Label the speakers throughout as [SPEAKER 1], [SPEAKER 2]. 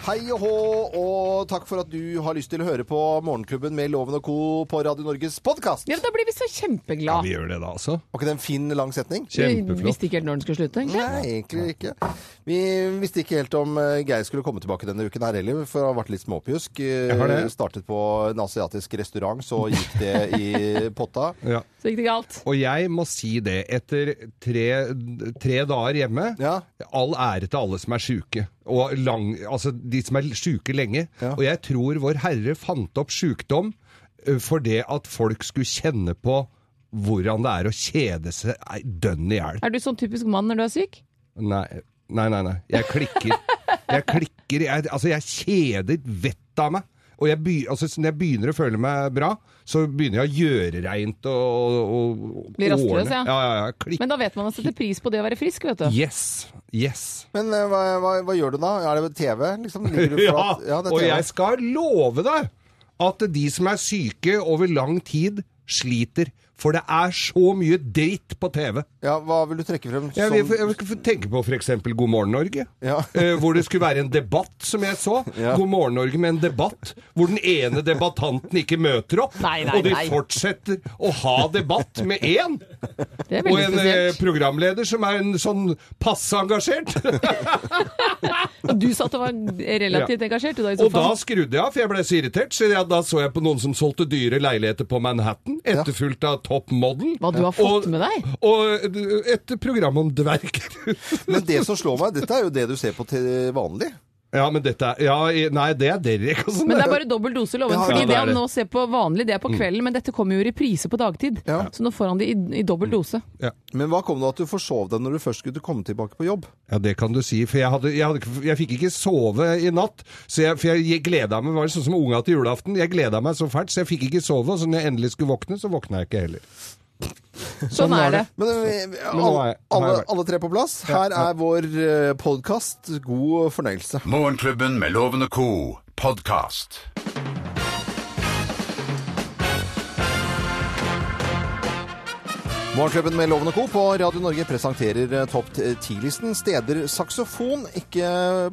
[SPEAKER 1] Hei og hå, og takk for at du har lyst til å høre på Morgenklubben med Loven og Co. på Radio Norges podkast.
[SPEAKER 2] Ja, men da blir vi så kjempeglad.
[SPEAKER 3] Vi gjør det da, altså.
[SPEAKER 1] Var ikke det en fin, lang setning?
[SPEAKER 2] vi
[SPEAKER 3] Kjempeflott.
[SPEAKER 2] visste ikke helt når den skulle slutte, egentlig.
[SPEAKER 1] Nei, egentlig ikke. Vi visste ikke helt om eh, Geir skulle komme tilbake denne uken her heller, for han har vært litt småpjusk. Eh,
[SPEAKER 3] har det.
[SPEAKER 1] Startet på en asiatisk restaurant, så gikk det i potta.
[SPEAKER 3] Ja.
[SPEAKER 2] Så gikk det galt.
[SPEAKER 3] Og jeg må si det, etter tre, tre dager hjemme
[SPEAKER 1] Ja.
[SPEAKER 3] All ære til alle som er sjuke. Og lang, altså de som er sjuke lenge.
[SPEAKER 1] Ja.
[SPEAKER 3] Og jeg tror Vår Herre fant opp sjukdom ø, for det at folk skulle kjenne på hvordan det er å kjede seg ei, dønn i hjel.
[SPEAKER 2] Er du sånn typisk mann når du er syk?
[SPEAKER 3] Nei, nei, nei. nei. Jeg klikker. Jeg klikker. Jeg, altså, jeg kjeder vettet av meg. Og jeg begy- altså, når jeg begynner å føle meg bra, så begynner jeg å gjøre reint og, og, og
[SPEAKER 2] Blir rastløs, ja.
[SPEAKER 3] årene. Ja, ja, ja. Klikk.
[SPEAKER 2] Men da vet man å sette pris på det å være frisk, vet du.
[SPEAKER 3] Yes. Yes.
[SPEAKER 1] Men eh, hva, hva, hva gjør du da? Er det TV? Liksom, ligger du
[SPEAKER 3] Ja,
[SPEAKER 1] flat? det er
[SPEAKER 3] og
[SPEAKER 1] TV.
[SPEAKER 3] jeg skal love deg at de som er syke over lang tid, sliter. For det er så mye dritt på TV.
[SPEAKER 1] ja, hva vil du trekke frem?
[SPEAKER 3] Jeg, vil-
[SPEAKER 1] som-
[SPEAKER 3] jeg, vil tenke på f.eks. God morgen, Norge.
[SPEAKER 1] Sånn- Ja.
[SPEAKER 3] eh, hvor det skulle være en debatt, som jeg så.
[SPEAKER 1] Ja.
[SPEAKER 3] God morgen, Norge med en debatt hvor den ene debattanten ikke møter opp.
[SPEAKER 2] Nei, nei,
[SPEAKER 3] og de
[SPEAKER 2] nei.
[SPEAKER 3] fortsetter å ha debatt med én.
[SPEAKER 2] Det er
[SPEAKER 3] Og
[SPEAKER 2] veldig
[SPEAKER 3] en eh,
[SPEAKER 2] spesielt.
[SPEAKER 3] programleder som er en sånn passe engasjert.
[SPEAKER 2] Og du sa at du var relativt engasjert du da i
[SPEAKER 3] Og da
[SPEAKER 2] sofaen.
[SPEAKER 3] skrudde jeg av, for jeg ble så irritert. Så jeg, da så jeg på noen som solgte dyre leiligheter på Manhattan, etterfulgt av Top Model.
[SPEAKER 2] Hva du har fått
[SPEAKER 3] og,
[SPEAKER 2] med deg?
[SPEAKER 3] Og eh, et program om dverger.
[SPEAKER 1] Men det som slår meg, dette er jo det du ser på til vanlig.
[SPEAKER 3] ja, men dette er ja, i- Nei, det er Derek. Altså.
[SPEAKER 2] Men det er bare dobbel dose, loven.
[SPEAKER 1] Ja,
[SPEAKER 2] fordi
[SPEAKER 3] ja, det
[SPEAKER 2] det
[SPEAKER 3] er
[SPEAKER 2] han
[SPEAKER 3] det. Mm.
[SPEAKER 2] nå ser på vanlig, det er på kvelden, men dette kommer jo i reprise på dagtid.
[SPEAKER 1] Ja.
[SPEAKER 2] Så nå får han det i, i dobbel dose.
[SPEAKER 1] Men hva kom det av at du forsov deg når du først skulle komme tilbake på jobb?
[SPEAKER 3] Ja, det kan du si. For jeg, hadde, jeg, hadde, ikke- jeg fikk ikke sove i natt. Så jeg, for jeg gleda meg. Det var sånn som unga til julaften. Jeg gleda meg så fælt, så jeg fikk ikke sove. Og så når jeg endelig skulle våkne, så våkna jeg ikke heller.
[SPEAKER 2] Sånn er det.
[SPEAKER 1] Men eh, vi- alle,
[SPEAKER 3] nå har jeg- nå har jeg
[SPEAKER 1] alle,
[SPEAKER 3] vært.
[SPEAKER 1] alle tre på plass. Her er vår eh, podkast. God fornøyelse.
[SPEAKER 4] Morgenklubben med Loven og co. podkast.
[SPEAKER 1] Morgenklubben med Loven og Co. på Radio Norge presenterer eh, topp 10-listen steder saksofon ikke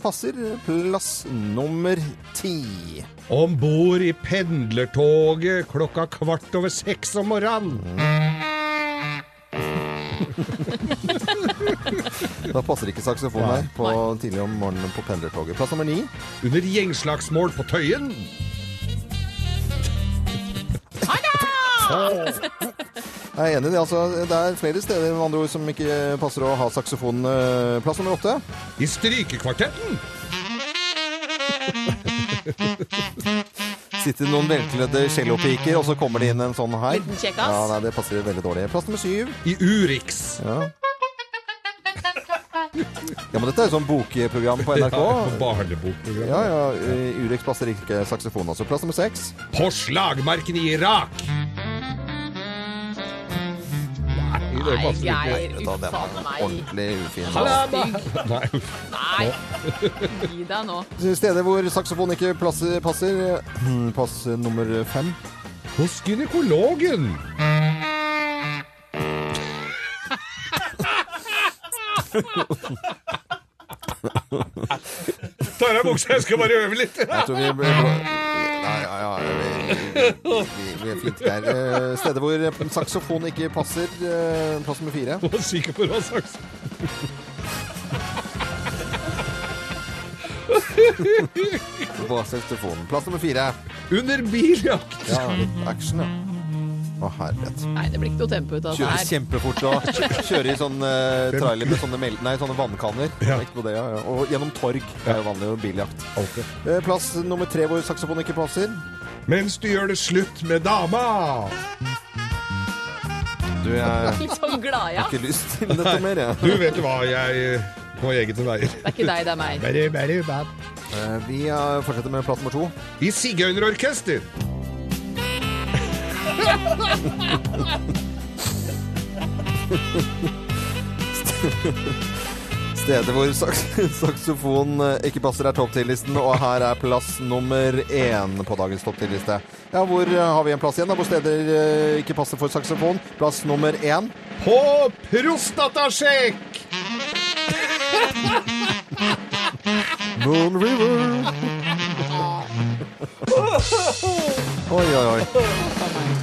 [SPEAKER 1] passer. Plass nummer ti.
[SPEAKER 3] Om bord i pendlertoget klokka kvart over seks om morgenen.
[SPEAKER 1] Da passer ikke saksofon her på tidlig om morgenen på pendlertoget. Plass nummer ni.
[SPEAKER 3] Under gjengslagsmål på Tøyen.
[SPEAKER 1] Jeg er enig i det. Altså, det er flere steder med andre ord som ikke passer å ha saksofon. Eh, Plass nummer åtte.
[SPEAKER 3] I Strykekvartetten.
[SPEAKER 1] Sitter noen velkledde cellopiker, og så kommer det inn en sånn her.
[SPEAKER 2] Liten kjekkas.
[SPEAKER 1] Ja, nei, det passer veldig dårlig. Plass nummer syv.
[SPEAKER 3] I Urix.
[SPEAKER 1] Ja. ja, men dette er jo sånn bokprogram på NRK.
[SPEAKER 3] På barnebokprogrammet.
[SPEAKER 1] Ja, ja. eh, Urex passer ikke saksofon, altså. Plass nummer seks.
[SPEAKER 3] På slagmarken i Irak. Nei, det passer ikke.
[SPEAKER 2] Geir,
[SPEAKER 1] Vet du hva, den
[SPEAKER 2] faen
[SPEAKER 1] var ordentlig ufin.
[SPEAKER 3] Nei, uff.
[SPEAKER 2] Nei, gi deg nå.
[SPEAKER 1] Steder hvor saksofon ikke plasser, passer. eh, Plass nummer fem.
[SPEAKER 3] Hos gynekologen. Tar av buksa, jeg skal bare øve litt.
[SPEAKER 1] Jeg tror vi blir Nei, ja, ja. Vi, vi, vi, vi er flinke der. Eh, Steder hvor saksofon ikke passer. eh, Plass nummer fire.
[SPEAKER 3] Var sikker på hva slags
[SPEAKER 1] På saksofonen. Plass nummer fire.
[SPEAKER 3] Under biljakt.
[SPEAKER 1] Ja, litt action, ja. Å, herlighet.
[SPEAKER 2] Nei, det blir ikke noe tempo ut av det
[SPEAKER 1] Kjører
[SPEAKER 2] her.
[SPEAKER 1] kjempefort og kjører i sånn eh, trailer med sånne, mel nei, sånne vannkanner.
[SPEAKER 3] Ja.
[SPEAKER 1] Ikke på Det, ja, ja. Og gjennom torg. Det er jo vanlig og biljakt. Eh, Plass nummer tre hvor saksofon ikke passer.
[SPEAKER 3] Mens du gjør det slutt med dama.
[SPEAKER 1] Du, jeg har
[SPEAKER 2] Litt sånn glad, ja.
[SPEAKER 1] ikke lyst til dette mer, jeg.
[SPEAKER 3] Du vet hva, jeg går egne veier.
[SPEAKER 2] Det er ikke deg, det er meg.
[SPEAKER 3] Bare, bare, bare.
[SPEAKER 1] Eh, Vi eh, fortsetter med plass nummer to.
[SPEAKER 3] I sigøynerorkester.
[SPEAKER 1] Steder hvor saks saksofon eh, ikke passer er topp 10-listen, og her er plass nummer én på dagens topp 10-liste. Ja, hvor eh, har vi en plass igjen? da? Hvor steder eh, ikke passer for saksofon? Plass nummer én.
[SPEAKER 3] På prostatasjekk!
[SPEAKER 1] Moon River. Oi, oi, oi.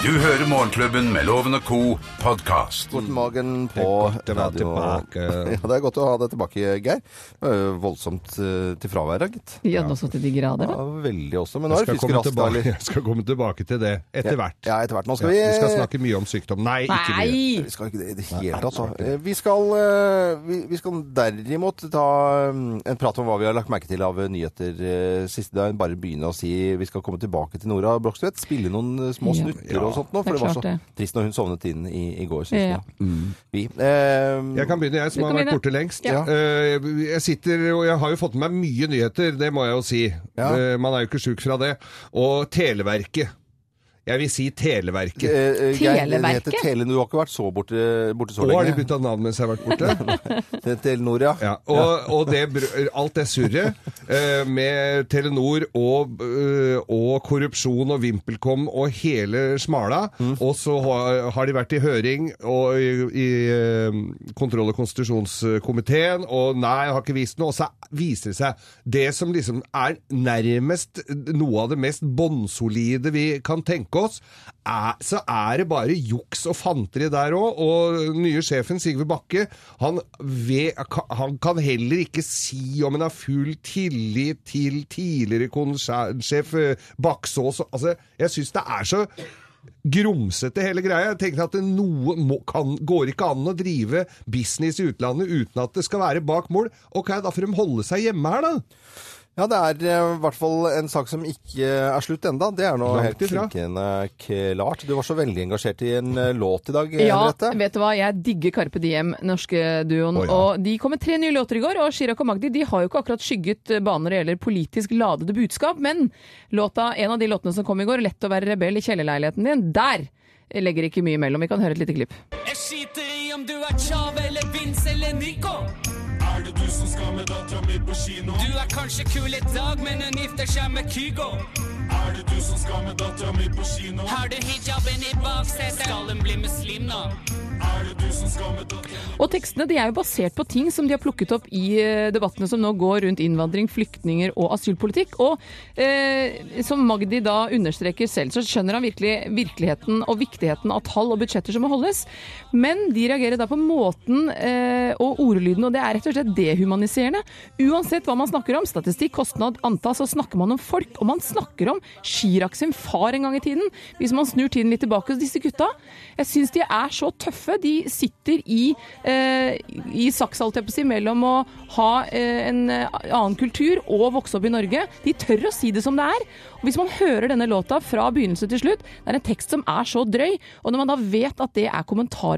[SPEAKER 4] Du hører Morgenklubben med Loven og Co. podkast.
[SPEAKER 1] Morten Magen på
[SPEAKER 3] Mm, Det er godt å være
[SPEAKER 1] radio.
[SPEAKER 3] tilbake.
[SPEAKER 1] Ja, det er godt å ha deg tilbake, Geir. Det var jo Voldsomt eh, til fraværet, gitt.
[SPEAKER 2] Ja, nå så til de grader.
[SPEAKER 1] Ja,
[SPEAKER 2] da.
[SPEAKER 1] veldig også. Men nå er
[SPEAKER 3] Jeg
[SPEAKER 1] det
[SPEAKER 3] skal,
[SPEAKER 1] frisk
[SPEAKER 3] komme
[SPEAKER 1] rask, da.
[SPEAKER 3] tilbake,
[SPEAKER 1] eller?
[SPEAKER 3] jeg skal komme tilbake til det etter hvert.
[SPEAKER 1] Ja, etter hvert. Nå
[SPEAKER 3] Ja,
[SPEAKER 1] skal vi
[SPEAKER 3] vi skal snakke mye om sykdom. Nei, ikke mye.
[SPEAKER 2] Eh, Nei!
[SPEAKER 1] Vi skal ikke det i det hele tatt. altså. Eh, Vi skal, eh, vi, vi skal derimot ta eh, en prat om hva vi har lagt merke til av eh, nyheter eh, siste dagen. Bare begynne å si vi skal komme tilbake til Nora Brokstvedt. Spille noen eh, små
[SPEAKER 2] Ja.
[SPEAKER 1] snutter
[SPEAKER 3] Ja.
[SPEAKER 1] og sånt nå. For
[SPEAKER 2] Det er
[SPEAKER 1] det var
[SPEAKER 2] klart
[SPEAKER 1] så
[SPEAKER 2] det.
[SPEAKER 1] trist når hun sovnet inn i, i går, syns
[SPEAKER 2] Ja.
[SPEAKER 1] jeg. Vi. eh,
[SPEAKER 3] Mm. Jeg kan begynne, jeg som
[SPEAKER 2] Du
[SPEAKER 3] har
[SPEAKER 2] kan
[SPEAKER 3] vært
[SPEAKER 2] begynne.
[SPEAKER 3] borte lengst.
[SPEAKER 1] Ja.
[SPEAKER 3] Eh, Jeg sitter, og jeg har jo fått med meg mye nyheter, det må jeg jo si.
[SPEAKER 1] Ja.
[SPEAKER 3] Eh, Man er jo ikke sjuk fra det. Og Televerket. Jeg vil si Televerket.
[SPEAKER 1] eh, eh, Geir, det heter
[SPEAKER 2] Televerket?
[SPEAKER 1] Tele, du har ikke vært så borte, borte så
[SPEAKER 3] Å, har de
[SPEAKER 1] lenge.
[SPEAKER 3] bytta navn mens jeg har vært borte?
[SPEAKER 1] Det er Telenor, ja.
[SPEAKER 3] Ja, og, og det, br- alt det surret eh, med Telenor og, eh, og korrupsjon og VimpelCom og hele smala, og så har, har de vært i høring og i, i eh, kontroll- og konstitusjonskomiteen, og nei, jeg har ikke vist noe, og så viser det seg det som liksom er nærmest noe av det mest bånnsolide vi kan tenke oss, er, så er det bare juks og fanteri der òg. Og nye sjefen, Sigve Bakke, han, ve- han kan heller ikke si om han har full tillit til tidligere konsernsjef eh, Baksås. Altså, jeg syns det er så grumsete hele greia. Jeg tenkte at det noe må, kan, går ikke an å drive business i utlandet uten at det skal være bak mål. Ok, da får de holde seg hjemme her, da.
[SPEAKER 1] Ja, det er eh, i hvert fall en sak som ikke eh, er slutt enda. Det er nå
[SPEAKER 3] Langt
[SPEAKER 1] helt
[SPEAKER 3] ifra.
[SPEAKER 1] klinkende klart. Du var så veldig engasjert i en eh, låt i dag,
[SPEAKER 2] Ja,
[SPEAKER 1] Henriette.
[SPEAKER 2] vet du hva, jeg digger Carpe Diem, norske duoen.
[SPEAKER 3] Å, ja.
[SPEAKER 2] Og de kom med tre nye låter i går, og Chirag og Magdi de har jo ikke akkurat skygget baner når det gjelder politisk ladede budskap, men låta, en av de låtene som kom i går, 'Lett å være rebell i kjellerleiligheten din', der legger ikke mye imellom. Vi kan høre et lite klipp.
[SPEAKER 5] Jeg skiter i om du er Chav eller Vince eller Nico.
[SPEAKER 6] Er det du som skal med dattera mi på kino?
[SPEAKER 5] Du er kanskje kul i dag, men hun gifter seg med Kygo.
[SPEAKER 6] Er det du som skal med dattera mi på kino?
[SPEAKER 5] Har du hijaben i baksetet? Skal hun bli muslim nå?
[SPEAKER 6] Er det du som skal med dattera mi
[SPEAKER 2] Og tekstene de er jo basert på ting som de har plukket opp i eh, debattene som nå går rundt innvandring, flyktninger og asylpolitikk. Og eh, som Magdi da understreker selv, så skjønner han virkelig virkeligheten og viktigheten av tall og budsjetter som må holdes. Men de reagerer da på måten eh, og ordlyden, og det er rett og slett dehumaniserende. Uansett hva man snakker om, statistikk, kostnad, antall, så snakker man om folk. Og man snakker om Chirag sin far en gang i tiden. Hvis man snur tiden litt tilbake hos disse gutta. Jeg syns de er så tøffe. De sitter i, eh, i saks, holdt jeg på å si, mellom å ha eh, en eh, annen kultur og vokse opp i Norge. De tør å si det som det er. Og hvis man hører denne låta fra begynnelse til slutt, det er en tekst som er så drøy. Og når man da vet at det er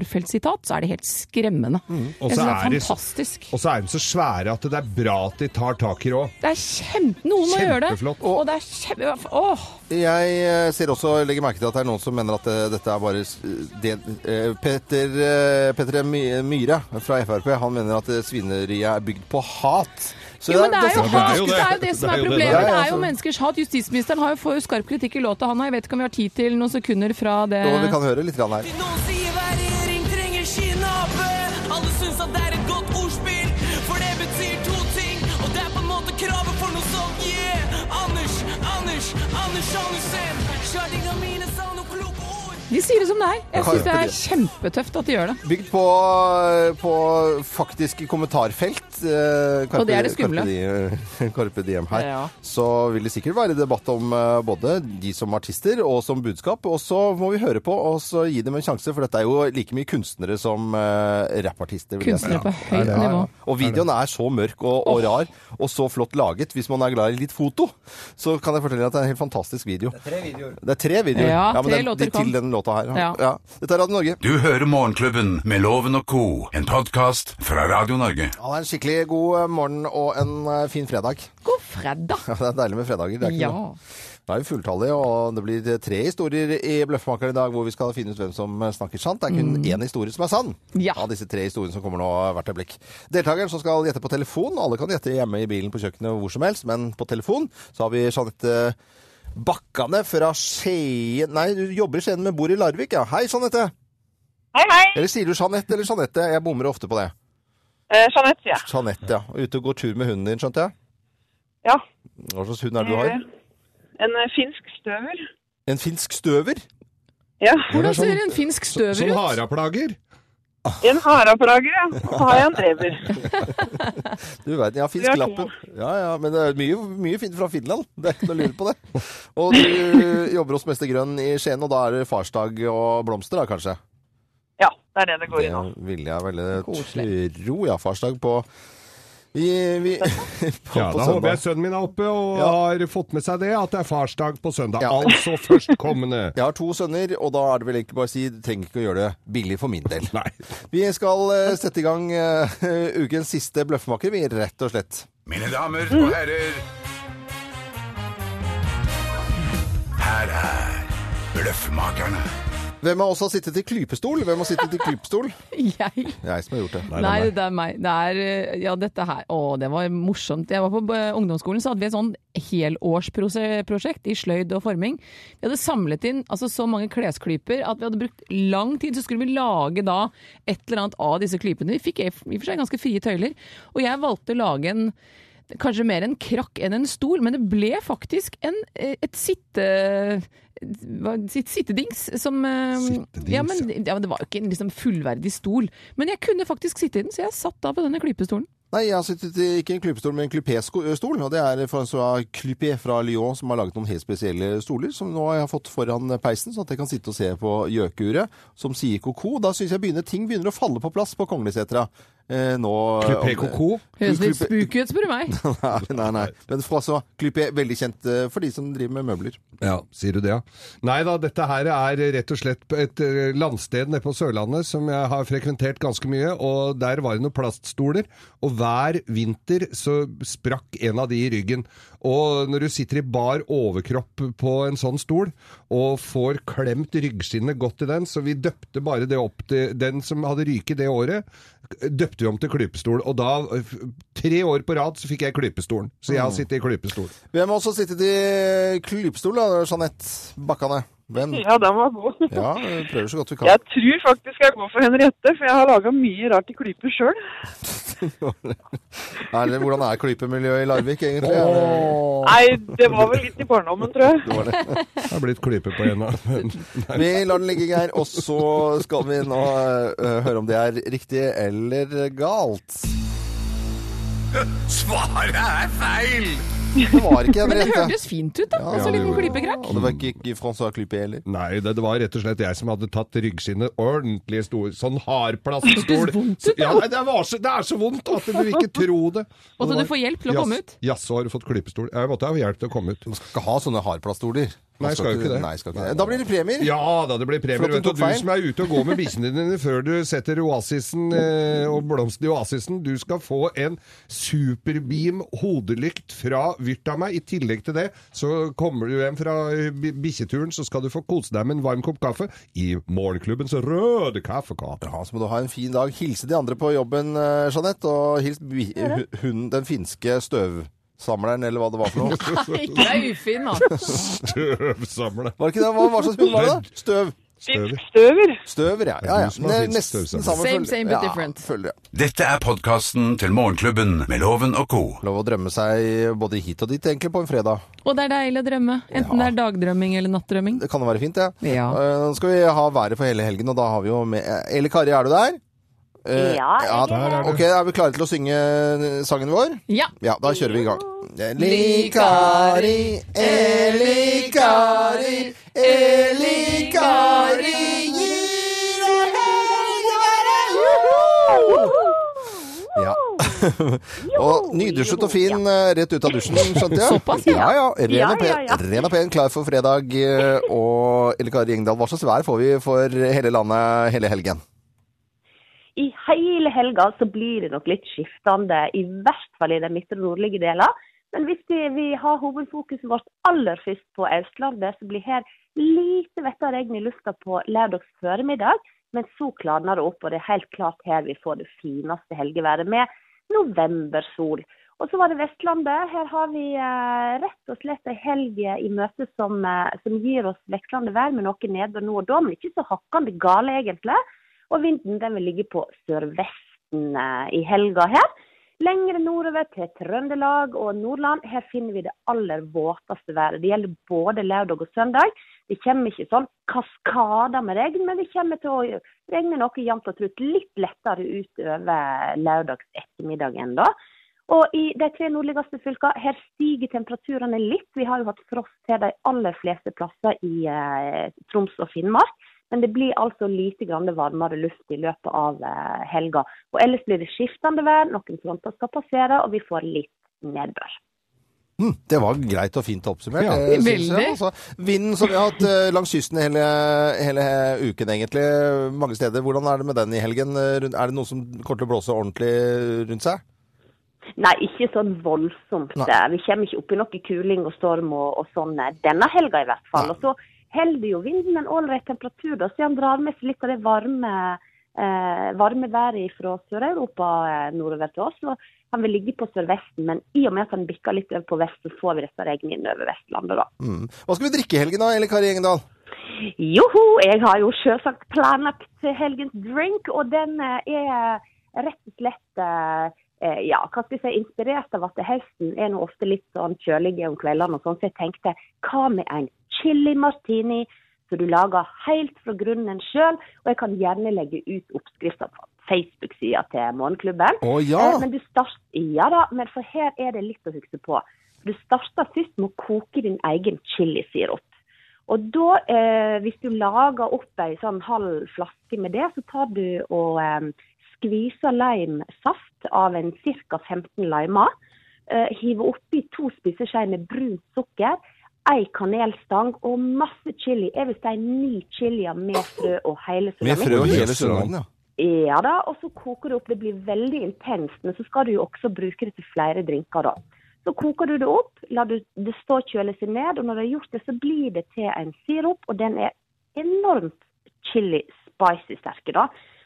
[SPEAKER 2] kommentarfeltsitat, så er det helt skremmende.
[SPEAKER 3] Mm. Og
[SPEAKER 2] Jeg syns det
[SPEAKER 3] så er
[SPEAKER 2] er
[SPEAKER 3] det-
[SPEAKER 2] fantastisk.
[SPEAKER 3] Og så er de så svære at det er bra at de tar tak i det òg.
[SPEAKER 2] Det er kjempe... Noen må gjøre det.
[SPEAKER 3] Kjempeflott.
[SPEAKER 2] Og det er kjempe... Åh!
[SPEAKER 1] Jeg eh, ser også, legger merke til at det er noen som mener at eh, dette er bare s- det, eh, Petter, eh, Petter My- Myhre fra Frp, han mener at eh, svineriet er bygd på hat. Så
[SPEAKER 2] Jo, men det er jo
[SPEAKER 3] det er
[SPEAKER 2] hat.
[SPEAKER 3] jo
[SPEAKER 2] Det er jo
[SPEAKER 3] det.
[SPEAKER 2] det som
[SPEAKER 3] Det
[SPEAKER 2] er
[SPEAKER 3] er jo det altså.
[SPEAKER 2] problemet.
[SPEAKER 1] der.
[SPEAKER 2] Det
[SPEAKER 1] Ja,
[SPEAKER 2] er
[SPEAKER 1] ja,
[SPEAKER 2] jo
[SPEAKER 1] så-
[SPEAKER 2] menneskers hat. Justisministeren har jo får jo skarp kritikk i låta, han har. Jeg vet ikke om vi har tid til noen sekunder fra det.
[SPEAKER 1] Og vi kan høre litt grann her.
[SPEAKER 5] Noen sier hver regjering trenger sin ape. Alle syns at det er et godt ordspill, for det betyr to ting. Og det er på en måte kravet for noe sånt, yeah. Anders, Anders, Anders Andersen. Kjærlinga mine sa noen kloke ord.
[SPEAKER 2] De sier det som det er. Jeg syns det
[SPEAKER 1] Carpe
[SPEAKER 2] er kjempetøft at de gjør det.
[SPEAKER 1] Bygd på, på faktisk kommentarfelt. eh, Carpe-
[SPEAKER 2] Og det er det skumle.
[SPEAKER 1] Carpe, Diem- Carpe Diem her.
[SPEAKER 2] Ja.
[SPEAKER 1] Så vil det sikkert være debatt om eh, både de som artister og som budskap. Og så må vi høre på og så gi dem en sjanse, for dette er jo like mye kunstnere som eh, rappartister. vil jeg si.
[SPEAKER 2] Kunstnere på
[SPEAKER 3] er
[SPEAKER 2] høyt
[SPEAKER 3] det.
[SPEAKER 2] nivå.
[SPEAKER 1] Og videoen er så mørk og, og rar, og så flott laget. Hvis man er glad i litt foto, så kan jeg fortelle deg at det er en helt fantastisk video. Det er tre videoer.
[SPEAKER 2] Ja,
[SPEAKER 1] men
[SPEAKER 2] tre
[SPEAKER 1] den,
[SPEAKER 2] låter
[SPEAKER 1] de, til
[SPEAKER 2] kom.
[SPEAKER 1] den låta her.
[SPEAKER 2] Ja.
[SPEAKER 1] Dette er Radio Norge.
[SPEAKER 4] Du hører Morgenklubben med Loven og Co., en podkast fra Radio Norge.
[SPEAKER 1] Ja, det er en skikkelig god eh, morgen og en eh, fin fredag.
[SPEAKER 2] God fredag!
[SPEAKER 1] Ja, Det er deilig med fredager. Det er ikke
[SPEAKER 2] Ja.
[SPEAKER 1] noe. Da er vi fulltallige, og det blir tre historier i Bløffmakeren i dag hvor vi skal finne ut hvem som eh, snakker sant. Det er kun én historie som er sann
[SPEAKER 2] Mm. Ja.
[SPEAKER 1] av disse tre historiene som kommer nå hvert øyeblikk. Deltakeren som skal gjette på telefon. Alle kan gjette hjemme i bilen, på kjøkkenet, hvor som helst, men på telefon så har vi Jeanette Bakkane fra Skien Nei, du jobber i Skien, men bor i Larvik, ja. Hei, Jeanette.
[SPEAKER 7] Hei, hei.
[SPEAKER 1] Eller sier du Jeanette eller Jeanette? Jeg bommer ofte på det.
[SPEAKER 7] Eh, Jeanette, ja.
[SPEAKER 1] Jeanette, ja. Og Ute og går tur med hunden din, skjønte jeg.
[SPEAKER 7] ja.
[SPEAKER 1] Hva slags hund er det du har?
[SPEAKER 7] En eh, finsk støver.
[SPEAKER 1] En finsk støver?
[SPEAKER 7] Ja,
[SPEAKER 2] Hvordan ser en finsk støver
[SPEAKER 3] Sånn
[SPEAKER 2] ut?
[SPEAKER 3] haraplager.
[SPEAKER 7] en haraplager, ja. Og så har jeg en drever.
[SPEAKER 1] Du vet, ja, finsk
[SPEAKER 7] Vi har
[SPEAKER 1] lappen. Ja, ja, men det er mye, mye fint fra Finland. Det er ikke noe å lure på det. Og du jobber hos Mester Grønn i Skien, og da er det farsdag og blomster da, kanskje?
[SPEAKER 7] Ja, det er det det går
[SPEAKER 1] Det
[SPEAKER 7] i nå.
[SPEAKER 1] vil jeg veldig
[SPEAKER 2] Koselig.
[SPEAKER 1] tro, ja. Farsdag på vi, vi, på,
[SPEAKER 3] Ja,
[SPEAKER 1] på
[SPEAKER 3] da håper jeg
[SPEAKER 1] søndag.
[SPEAKER 3] sønnen min er oppe og
[SPEAKER 1] Ja.
[SPEAKER 3] har fått med seg det, at det er farsdag på søndag.
[SPEAKER 1] Ja.
[SPEAKER 3] Altså førstkommende.
[SPEAKER 1] Jeg har to sønner, og da er det vel egentlig bare å si du trenger ikke å gjøre det billig for min del.
[SPEAKER 3] Nei.
[SPEAKER 1] Vi skal eh, sette i gang eh, ukens siste bløffmaker, vi, rett og slett.
[SPEAKER 4] Mine damer og herrer Her er Bløffmakerne.
[SPEAKER 1] Hvem av oss har sittet i klypestol? Hvem har sittet i klypestol?
[SPEAKER 2] Jeg?
[SPEAKER 1] Jeg som har gjort det.
[SPEAKER 2] Nei, det er meg. Det er, eh, ja, dette her. Å, det var morsomt. Jeg var på eh, ungdomsskolen, så hadde vi et sånn helårsprosjekt i sløyd og forming. Vi hadde samlet inn altså, så mange klesklyper at vi hadde brukt lang tid. Så skulle vi lage da et eller annet av disse klypene. Vi fikk i i og for seg ganske frie tøyler. Og jeg valgte å lage en Kanskje mer en krakk enn en stol, men det ble faktisk en, eh, et sitte... hva- sitt- Sittedings som eh,
[SPEAKER 3] Sittedings,
[SPEAKER 2] ja, men, ja, men Det var jo ikke en liksom, fullverdig stol, men jeg kunne faktisk sitte i den, så jeg satt da på denne klypestolen.
[SPEAKER 1] Nei, jeg har sittet i ikke en klypestol, men en klypé-stol. Og det er François Clypé fra Lyon som har laget noen helt spesielle stoler, som nå har jeg fått foran peisen, sånn at jeg kan sitte og se på gjøkeuret, som sier koko. Da syns jeg begynner, ting begynner å falle på plass på Konglesetra. Eh, nå
[SPEAKER 3] Kupé koko.
[SPEAKER 2] Høres litt
[SPEAKER 1] Klype-
[SPEAKER 2] spooky ut, spør du meg.
[SPEAKER 1] Nei, nei, nei. Men François Clypé, veldig kjent eh, for de som driver med møbler.
[SPEAKER 3] Ja, sier du det, ja. Nei da, dette her er rett og slett et eh, landsted nede på Sørlandet som jeg har frekventert ganske mye, og der var det noen plaststoler, og hver vinter så sprakk en av de i ryggen. Og når du sitter i bar overkropp på en sånn stol, og får klemt ryggskinnet godt i den, så vi døpte bare det opp til den som hadde ryket det året, døpte vi om til klypestol, og da, f- tre år på rad, så fikk jeg klypestolen. Så jeg har sittet i klypestol.
[SPEAKER 1] Hvem har også sittet i klypestol, da, Jeanette Bakkane? Hvem?
[SPEAKER 7] Ja, den var god.
[SPEAKER 1] Ja, vi prøver så godt vi kan.
[SPEAKER 7] Jeg tror faktisk jeg går for Henriette, for jeg har laga mye rart i klyper sjøl.
[SPEAKER 1] Er det, hvordan er klypemiljøet i Larvik, egentlig?
[SPEAKER 7] Nei, det var vel litt i barndommen, tror jeg.
[SPEAKER 3] Det har blitt klype på henne. Men-
[SPEAKER 1] Vi lar den ligge, Geir, og så skal vi nå eh, høre om det er riktig eller galt.
[SPEAKER 4] Svaret er feil!
[SPEAKER 1] Det var ikke
[SPEAKER 2] Men
[SPEAKER 1] den
[SPEAKER 2] det
[SPEAKER 1] rette.
[SPEAKER 2] hørtes fint ut, da. altså,
[SPEAKER 3] det
[SPEAKER 2] liten
[SPEAKER 3] gjorde
[SPEAKER 2] klypekrakk.
[SPEAKER 1] Og det var ikke- ikke François Clypé heller.
[SPEAKER 3] Nei, det, det var rett og slett jeg som hadde tatt ryggskinnet ordentlig stor, sånn hardplaststol.
[SPEAKER 2] Det hørtes vondt ut, da.
[SPEAKER 3] Ja, nei, det, var så, det er så vondt at du vil ikke tro det.
[SPEAKER 2] Og så
[SPEAKER 3] det
[SPEAKER 2] Altså, du
[SPEAKER 3] var-
[SPEAKER 2] får hjelp til å
[SPEAKER 3] Jas-
[SPEAKER 2] komme ut?
[SPEAKER 3] Jaså, har du fått klypestol? Jeg måtte ha hjelp til å komme ut.
[SPEAKER 1] Man skal ikke ha sånne hardplaststoler. Man
[SPEAKER 3] Nei, skal jo ikke det.
[SPEAKER 1] Nei, skal ikke det. Da blir det premier.
[SPEAKER 3] Ja da, det blir
[SPEAKER 1] Flott,
[SPEAKER 3] premier.
[SPEAKER 1] du
[SPEAKER 3] Vet du,
[SPEAKER 1] tok
[SPEAKER 3] du
[SPEAKER 1] feil.
[SPEAKER 3] som er ute og går med bikkjene dine før du setter oasisen eh, og blomsten i oasisen, du skal få en superbeam hodelykt fra Vyrt av meg. I tillegg til det, så kommer du hjem fra eh, bi- bikkjeturen, så skal du få kose deg med en varm kopp kaffe i morgenklubbens røde kaffekopp.
[SPEAKER 1] Ja, så må du ha en fin dag. Hilse de andre på jobben, eh, Jeanette, og hils bi- hu- hunden, den finske støvsamleren, eller hva det var for noe.
[SPEAKER 2] Ikke deg ufin, da.
[SPEAKER 3] Støvsamle.
[SPEAKER 1] Var det ikke det? Hva, hva slags hund var det? da? Støv.
[SPEAKER 3] Støv.
[SPEAKER 7] Støver.
[SPEAKER 1] Støver, ja. ja, ja.
[SPEAKER 3] du som har
[SPEAKER 1] Ne-
[SPEAKER 3] finsk
[SPEAKER 1] Nesten
[SPEAKER 3] støvsamler.
[SPEAKER 1] samme
[SPEAKER 2] Same,
[SPEAKER 1] følge.
[SPEAKER 2] same, but different.
[SPEAKER 1] Ja, følge, ja.
[SPEAKER 4] Dette er podkasten til Morgenklubben med Loven og co.
[SPEAKER 1] Lov å drømme seg både hit og dit, egentlig, på en fredag.
[SPEAKER 2] Og det er deilig å drømme. Enten det er dagdrømming eller nattdrømming.
[SPEAKER 1] Det kan jo være fint, det.
[SPEAKER 2] Ja.
[SPEAKER 1] Eh, Nå skal vi ha været for hele helgen, og da har vi jo med Eller Kari, er du der? Eh,
[SPEAKER 8] Ja, jeg er
[SPEAKER 3] her.
[SPEAKER 1] Ok, er vi klare til å synge eh, sangen vår?
[SPEAKER 2] Ja!
[SPEAKER 1] Ja, da kjører vi i gang.
[SPEAKER 2] Eli Kari, Eli Kari, Eli Kari,
[SPEAKER 1] gir
[SPEAKER 2] Juhu!
[SPEAKER 1] Ja. og nydusjet og fin eh, rett ut av dusjen, skjønte jeg.
[SPEAKER 2] Såpass,
[SPEAKER 1] ja.
[SPEAKER 2] ja.
[SPEAKER 1] Ja, Ren,
[SPEAKER 8] Ja,
[SPEAKER 1] og pen,
[SPEAKER 8] ja, ja.
[SPEAKER 1] ren og pen, klar for fredag. eh, Og Elle Kari Engdahl, hva slags vær får vi for hele landet hele helgen?
[SPEAKER 8] I hele helga så blir det nok litt skiftende, i hvert fall i den midtre og nordlige delen. Men hvis vi, vi har hovedfokuset vårt aller først på Østlandet, så blir her lite vett og regn i lufta på lørdags formiddag. Men så klarner det opp, og det er helt klart her vi får det fineste helgeværet med novembersol. Og så var det Vestlandet. Her har vi eh, rett og slett ei helg i møte som, eh, som gir oss vekslende vær med noe nedbør nå og da, men ikke så hakkende gale egentlig. Og vinden den vil ligge på sørvesten eh, i helga her. Lengre nordover til Trøndelag og Nordland, her finner vi det aller våteste været. Det gjelder både lørdag og søndag. Det kommer ikke sånn kaskader med regn, men det kommer til å regne noe jevnt og trutt litt lettere utover lørdags ettermiddag enn da. Og i de tre nordligste fylkene, her stiger temperaturene litt. Vi har jo hatt frost til de aller fleste plasser i eh, Troms og Finnmark. Men det blir altså lite grann varmere luft i løpet av eh, helga. Og ellers blir det skiftende vær, noen fronter skal passere, og vi får litt nedbør.
[SPEAKER 1] Hm, Det var greit og fint oppsummert.
[SPEAKER 3] Ja.
[SPEAKER 1] eh, synes
[SPEAKER 2] Veldig.
[SPEAKER 1] jeg, altså. Vinden som vi har hatt eh, langs kysten hele, hele uken, egentlig, mange steder. Hvordan er det med den i helgen? Eh, rundt- Er det noe som kommer til å blåse ordentlig rundt seg?
[SPEAKER 8] Nei, ikke sånn voldsomt.
[SPEAKER 1] Nei.
[SPEAKER 8] Eh, Vi kommer ikke opp i noe kuling og storm og, og sånn eh, denne helga i hvert fall. Og så holder jo vinden en ålreit temperatur, da, så han drar med seg litt av det varme, eh, varme været fra Sør-Europa eh, nordover til oss. Og han vil ligge på sørvesten, men i og med at han bikker litt over på vest, så får vi dette regnet inn over Vestlandet, da.
[SPEAKER 1] Mm. Hva skal vi drikke i helgen da, eller Kari Engdahl?
[SPEAKER 8] Joho, jeg har jo selvsagt planlagt helgens drink, og den eh, er rett og slett eh, eh, ja, hva skal jeg si, inspirert av at høsten er nå ofte litt sånn kjølig om kveldene. og sånn, Så jeg tenkte hva med en chili martini som du lager helt fra grunnen sjøl? Og jeg kan gjerne legge ut oppskrifter på Facebook-sida til Morgenklubben.
[SPEAKER 1] Å ja!
[SPEAKER 8] Eh, Men du start, ja da, men for her er det litt å huske på. Du starter først med å koke din egen chilisirup. Og da, eh, hvis du lager opp ei sånn halv flaske med det, så tar du og eh, skviser limesaft av en ca. 15 limer. Eh, hiver oppi to spiseskjeer med brunt sukker, ei kanelstang og masse chili. Jeg vil si ni chilier med frø og hele
[SPEAKER 1] Med
[SPEAKER 8] surramikk.
[SPEAKER 1] frø og hele
[SPEAKER 3] Jøss,
[SPEAKER 1] Sørlandet, ja.
[SPEAKER 8] Ja da, og så koker det opp. Det blir veldig intenst, men så skal du jo også bruke det til flere drinker, da. Så koker du det opp, lar du det stå og kjøle seg ned, og når det er gjort det, så blir det til en sirup, og den er enormt chili spicy sterke, da.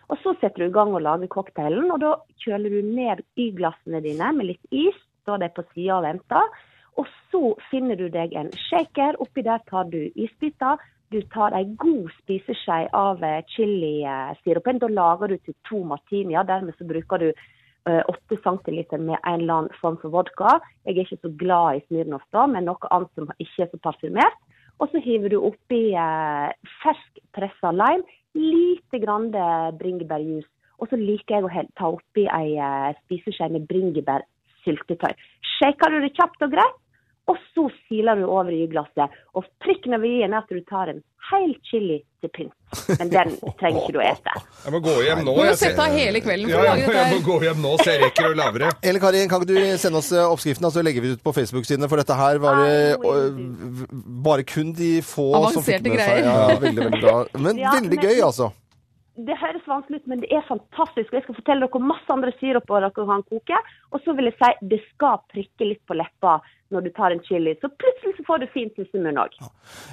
[SPEAKER 8] Og så setter du i gang og lager cocktailen, og da kjøler du ned Y-glassene dine med litt is, står de på sida og venter. Og så finner du deg en shaker. Oppi der tar du isbiter. Du tar ei god spiseskje av eh, chilisirupen. Da lager du til to martinier. Dermed så bruker du eh, 8 centiliter med en eller annen form for vodka. Jeg er ikke så glad i Smirnoff da, men noe annet som ikke er så parfymert. Og så hiver du oppi eh, fersk pressa lime, lite grann eh, bringebærjuice. Og så liker jeg å he- ta oppi ei eh, spiseskje med bringebærsyltetøy. Shaker du det kjapt og greit, og så siler du over i glasset. Og prikken over i-en er at du tar en hel chili til pynt. Men den trenger ikke du å ete.
[SPEAKER 3] Jeg må gå hjem nå.
[SPEAKER 2] Du må jo
[SPEAKER 3] jeg
[SPEAKER 2] sette
[SPEAKER 3] ser-
[SPEAKER 2] av hele kvelden for
[SPEAKER 3] ja,
[SPEAKER 2] å lage
[SPEAKER 3] jeg, må, jeg må
[SPEAKER 2] dette her.
[SPEAKER 3] gå hjem nå, så jeg rekker å lage det.
[SPEAKER 1] Eller Kari, kan ikke du sende oss eh, oppskriften, da, så legger vi det ut på Facebook-sidene? For dette her var det
[SPEAKER 8] I will
[SPEAKER 1] eh, v- bare kun de få som fikk
[SPEAKER 2] Avanserte
[SPEAKER 1] med seg.
[SPEAKER 2] greier.
[SPEAKER 1] Ja, veldig, veldig bra. Men
[SPEAKER 8] Ja,
[SPEAKER 1] veldig
[SPEAKER 8] men-
[SPEAKER 1] gøy, altså.
[SPEAKER 8] Det høres vanskelig ut, men det er fantastisk. Og jeg skal fortelle dere masse andre siruper dere kan koke. Og så vil jeg si det skal prikke litt på leppa når du tar en chili. Så plutselig så får du fin tissemunn òg.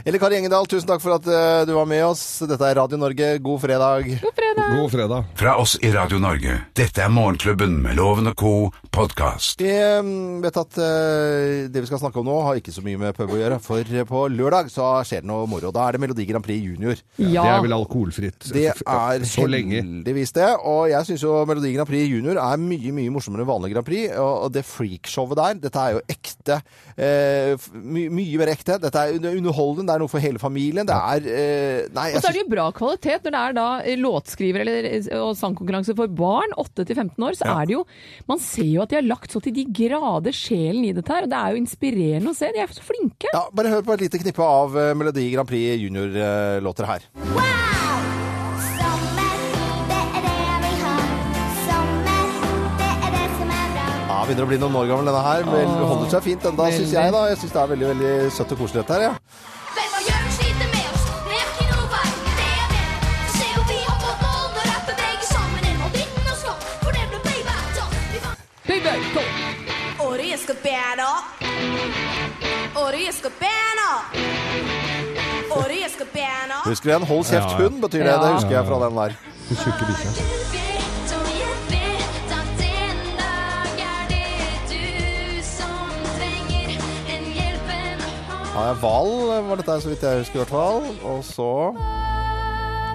[SPEAKER 1] Eller Kari Engedal, tusen takk for at eh, du var med oss. Dette er Radio Norge, god fredag.
[SPEAKER 3] God fredag.
[SPEAKER 4] Fra oss i Radio Norge. Dette er Morgenklubben med Loven og co. podkast.
[SPEAKER 1] Vi eh, vet at eh, det vi skal snakke om nå, har ikke så mye med pub å gjøre. For eh, på lørdag så skjer det noe moro. Da er det Melodi Grand Prix junior.
[SPEAKER 3] Det
[SPEAKER 2] Ja.
[SPEAKER 3] er vel alkoholfritt.
[SPEAKER 1] Det er
[SPEAKER 3] så lenge.
[SPEAKER 1] heldigvis det. Og jeg syns jo Melodi Grand Prix Junior er mye mye morsommere enn vanlig Grand Prix. Og og det freakshowet der, dette er jo ekte. Eh, f- my mye mer ekte. Dette er under- underholdende, det er noe for hele familien. Det er eh, Nei,
[SPEAKER 2] Og
[SPEAKER 1] jeg
[SPEAKER 2] så er det
[SPEAKER 1] syns
[SPEAKER 2] jo bra kvalitet når det er da eh, låtskriver eller, eh, og sangkonkurranse for barn, 8-15 år, så er det jo Man ser jo at de har lagt så til de grader sjelen i dette her, og det er jo inspirerende å se. De er så flinke.
[SPEAKER 1] ja, Bare hør på et lite knippe av eh, Melodi Grand Prix Junior-låter her.
[SPEAKER 9] Wow! Sommer, det er det vi har. Sommer, det er det som er bra.
[SPEAKER 1] Ja, begynner å bli noen år gammel denne her. Vel, holder seg fint enda, syns
[SPEAKER 2] Veldig.
[SPEAKER 1] jeg. da. Jeg syns det er veldig veldig søtt og koselig dette her. Ja.
[SPEAKER 9] Hvem har gjør sliter med oss? Det er ikke noe vei, det er det. Så ser jo vi om vårt mål når rapper begge sammen en og dritten og slått. For det blir playback, da. Vi vant.
[SPEAKER 2] Baby, kom.
[SPEAKER 9] Året jeg skal bære. Året jeg skal bære. Året jeg skal bære.
[SPEAKER 1] Husker du den? Hold kjeft,
[SPEAKER 3] Ja, ja.
[SPEAKER 1] hund, betyr det. Det
[SPEAKER 2] Ja.
[SPEAKER 1] husker jeg fra den der.
[SPEAKER 3] Tjukke bikkja.
[SPEAKER 9] Du vet, og jeg vet, at en dag er det du som trenger en hjelpende hånd.
[SPEAKER 1] Ja, Hval var dette her, så vidt jeg husker i hvert fall. Og så
[SPEAKER 9] Å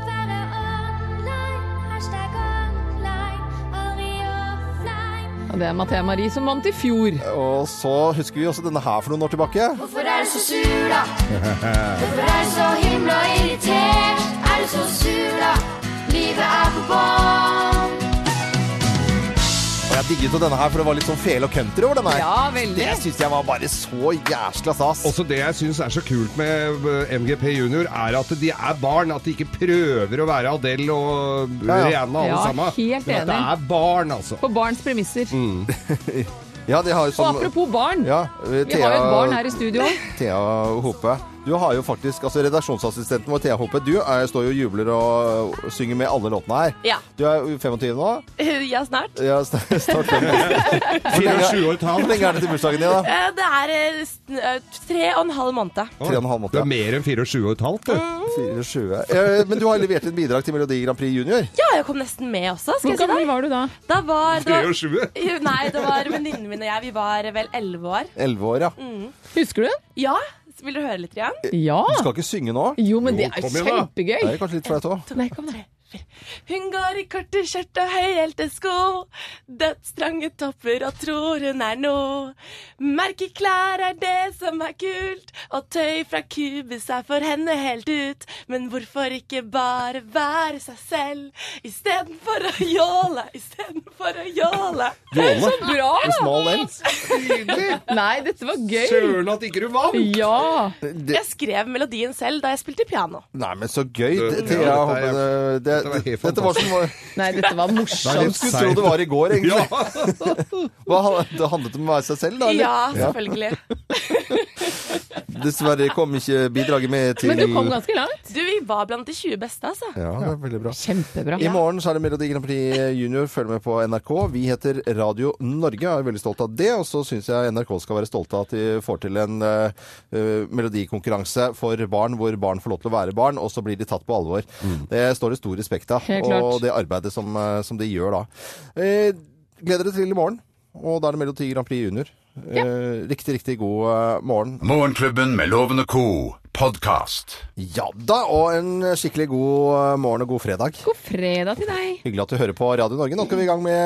[SPEAKER 9] være online, hashtag online, aldri offline.
[SPEAKER 2] Ja, det er Mathea Marie som vant i fjor.
[SPEAKER 1] Og så husker vi også denne her for noen år tilbake.
[SPEAKER 9] Hvorfor er du så sur, da? Hvorfor er du så himla irritert? Er du så sur, da? Livet er på bånn.
[SPEAKER 1] Og jeg digget jo denne her, for det var litt sånn fele og country over denne her.
[SPEAKER 2] Ja, veldig.
[SPEAKER 1] Det syns jeg var bare så jæsla stas.
[SPEAKER 3] Også det jeg syns er så kult med eh, MGP Junior, er at de er barn. At de ikke prøver å være Adele og
[SPEAKER 1] Ja, ja.
[SPEAKER 3] Rihanna alle
[SPEAKER 2] Ja,
[SPEAKER 3] sammen.
[SPEAKER 2] helt
[SPEAKER 3] Men at det
[SPEAKER 2] enig.
[SPEAKER 3] er barn, altså.
[SPEAKER 2] På barns premisser.
[SPEAKER 1] Ja, de har jo
[SPEAKER 2] Og
[SPEAKER 1] sånn
[SPEAKER 2] apropos barn.
[SPEAKER 1] ja,
[SPEAKER 2] Vi har jo et barn her i studio.
[SPEAKER 1] Thea Hope. Du har jo faktisk, altså Redaksjonsassistenten vår, Thea Hope, du er, står jo og jubler og øh, synger med alle låtene her.
[SPEAKER 10] Ja.
[SPEAKER 1] Du er jo 25 nå.
[SPEAKER 10] Ja, snart.
[SPEAKER 1] Ja, snart 25.
[SPEAKER 3] år
[SPEAKER 1] Hvor lenge er det til bursdagen din, da?
[SPEAKER 10] Eh, Det er eh, s- eh, tre og en halv måned.
[SPEAKER 1] Tre og en halv måned.
[SPEAKER 3] Du er mer enn 24 og et halvt, du.
[SPEAKER 1] 24. Eh, Men du har levert et bidrag til Melodi Grand Prix Junior.
[SPEAKER 10] Ja, jeg kom nesten med også, altså. skal jeg
[SPEAKER 2] Hvor
[SPEAKER 10] si
[SPEAKER 2] gammel
[SPEAKER 10] deg.
[SPEAKER 2] var du da?
[SPEAKER 10] Da var, det var
[SPEAKER 3] 23.
[SPEAKER 10] Nei, det var venninnen min og jeg. Vi var vel elleve år.
[SPEAKER 1] 11 år, ja.
[SPEAKER 2] Husker du den?
[SPEAKER 10] Ja, vil du høre litt? Igjen?
[SPEAKER 2] Ja.
[SPEAKER 1] Du skal ikke synge nå?
[SPEAKER 2] Jo, men
[SPEAKER 3] Jo,
[SPEAKER 2] det er jo
[SPEAKER 3] kom igjen, da.
[SPEAKER 1] Det er
[SPEAKER 2] kjempegøy.
[SPEAKER 1] jo kanskje litt flaut òg.
[SPEAKER 2] Nei, kom da.
[SPEAKER 10] Hun går i korte skjørt og høyhælte sko. Dødsstrange topper og tror hun er noe. Merkeklær er det som er kult, og tøy fra kubus er for henne helt ut. Men hvorfor ikke bare være seg selv istedenfor å jåle, istedenfor å jåle?
[SPEAKER 1] Jåle.
[SPEAKER 2] Bra!
[SPEAKER 1] Med smal L.
[SPEAKER 2] Nei, dette var gøy.
[SPEAKER 3] Søren at ikke du vant!
[SPEAKER 2] Ja.
[SPEAKER 10] Jeg skrev melodien selv da jeg spilte piano.
[SPEAKER 1] Nei, men så gøy. Det,
[SPEAKER 3] Det-
[SPEAKER 1] Thea
[SPEAKER 3] ja,
[SPEAKER 1] Hope,
[SPEAKER 3] dette
[SPEAKER 1] det, det,
[SPEAKER 3] dette var helt
[SPEAKER 1] dette var som
[SPEAKER 2] Nei, dette var
[SPEAKER 1] Hvem
[SPEAKER 2] morsomt.
[SPEAKER 1] skulle tro det var i går, egentlig?
[SPEAKER 3] Ja.
[SPEAKER 1] Hva, det handlet om å være seg selv, da? eller?
[SPEAKER 10] Ja, selvfølgelig.
[SPEAKER 1] Dessverre kom ikke bidraget med til
[SPEAKER 2] Men du kom ganske langt.
[SPEAKER 10] Du, vi var blant de 20 beste, altså.
[SPEAKER 1] Ja, det er veldig bra.
[SPEAKER 2] Kjempebra.
[SPEAKER 1] I morgen så er det Melodi Grand Prix eh, Junior. Følg med på NRK. Vi heter Radio Norge. Jeg er veldig stolt av det. Og så syns jeg NRK skal være stolte av at de får til en eh, eh, melodikonkurranse for barn, hvor barn får lov til å være barn, og så blir de tatt på alvor. Det står det stor respekt av.
[SPEAKER 2] Helt klart.
[SPEAKER 1] Og det arbeidet som, eh, som de gjør da. Eh, gleder dere til i morgen. Og da er det Melodi Grand Prix Junior. Eh, riktig, riktig god eh, morgen.
[SPEAKER 4] Morgenklubben med Loven og co. podkast.
[SPEAKER 1] Ja da, og en skikkelig god eh, morgen og god fredag.
[SPEAKER 2] God fredag til deg.
[SPEAKER 1] Hyggelig at du hører på Radio Norge. Nå skal vi i gang med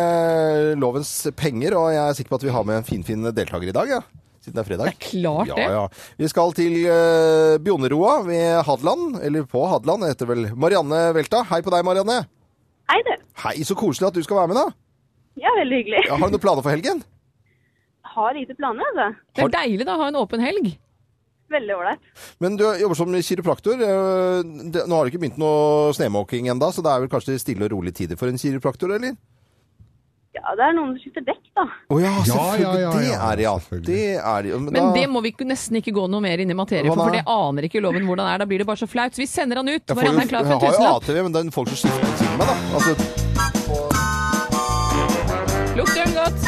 [SPEAKER 1] lovens penger, og jeg er sikker på at vi har med en finfin deltaker i dag, ja. siden det er fredag.
[SPEAKER 2] Klart det.
[SPEAKER 1] Ja, ja. Vi skal til eh, Bjoneroa ved Hadeland, eller på Hadeland, det heter vel Marianne Velta. Hei på deg, Marianne.
[SPEAKER 8] Hei, du.
[SPEAKER 1] Hei, så koselig at du skal være med, da.
[SPEAKER 8] Ja, veldig hyggelig.
[SPEAKER 1] Ja, har du noen planer for helgen?
[SPEAKER 8] Har lite planer, altså.
[SPEAKER 2] Det er deilig da å ha en åpen helg.
[SPEAKER 8] Veldig ålreit.
[SPEAKER 1] Men du jobber som kiropraktor. eh, det- Nå har du ikke begynt noe snemåking ennå, så det er vel kanskje stille og rolige tider for en kiropraktor, eller?
[SPEAKER 8] Ja, det er noen som skifter dekk, da.
[SPEAKER 1] Å ja, selvfølgelig.
[SPEAKER 3] ja, ja, ja,
[SPEAKER 1] det er det, ja.
[SPEAKER 3] selvfølgelig.
[SPEAKER 1] Det er det. ja,
[SPEAKER 2] Men
[SPEAKER 1] da-
[SPEAKER 2] det må vi ikke- nesten ikke gå noe mer inn i materie
[SPEAKER 1] Hva da?
[SPEAKER 2] for, for det aner ikke loven hvordan er. Da blir det bare så flaut. Så vi sender han ut.
[SPEAKER 1] Jeg, får jo,
[SPEAKER 2] Marianne er klar for
[SPEAKER 1] jeg
[SPEAKER 2] en
[SPEAKER 1] har jo
[SPEAKER 2] tusenlapp.
[SPEAKER 1] ATV, men det er folk som skifter til meg, da. Altså,
[SPEAKER 2] Lukt ølen godt.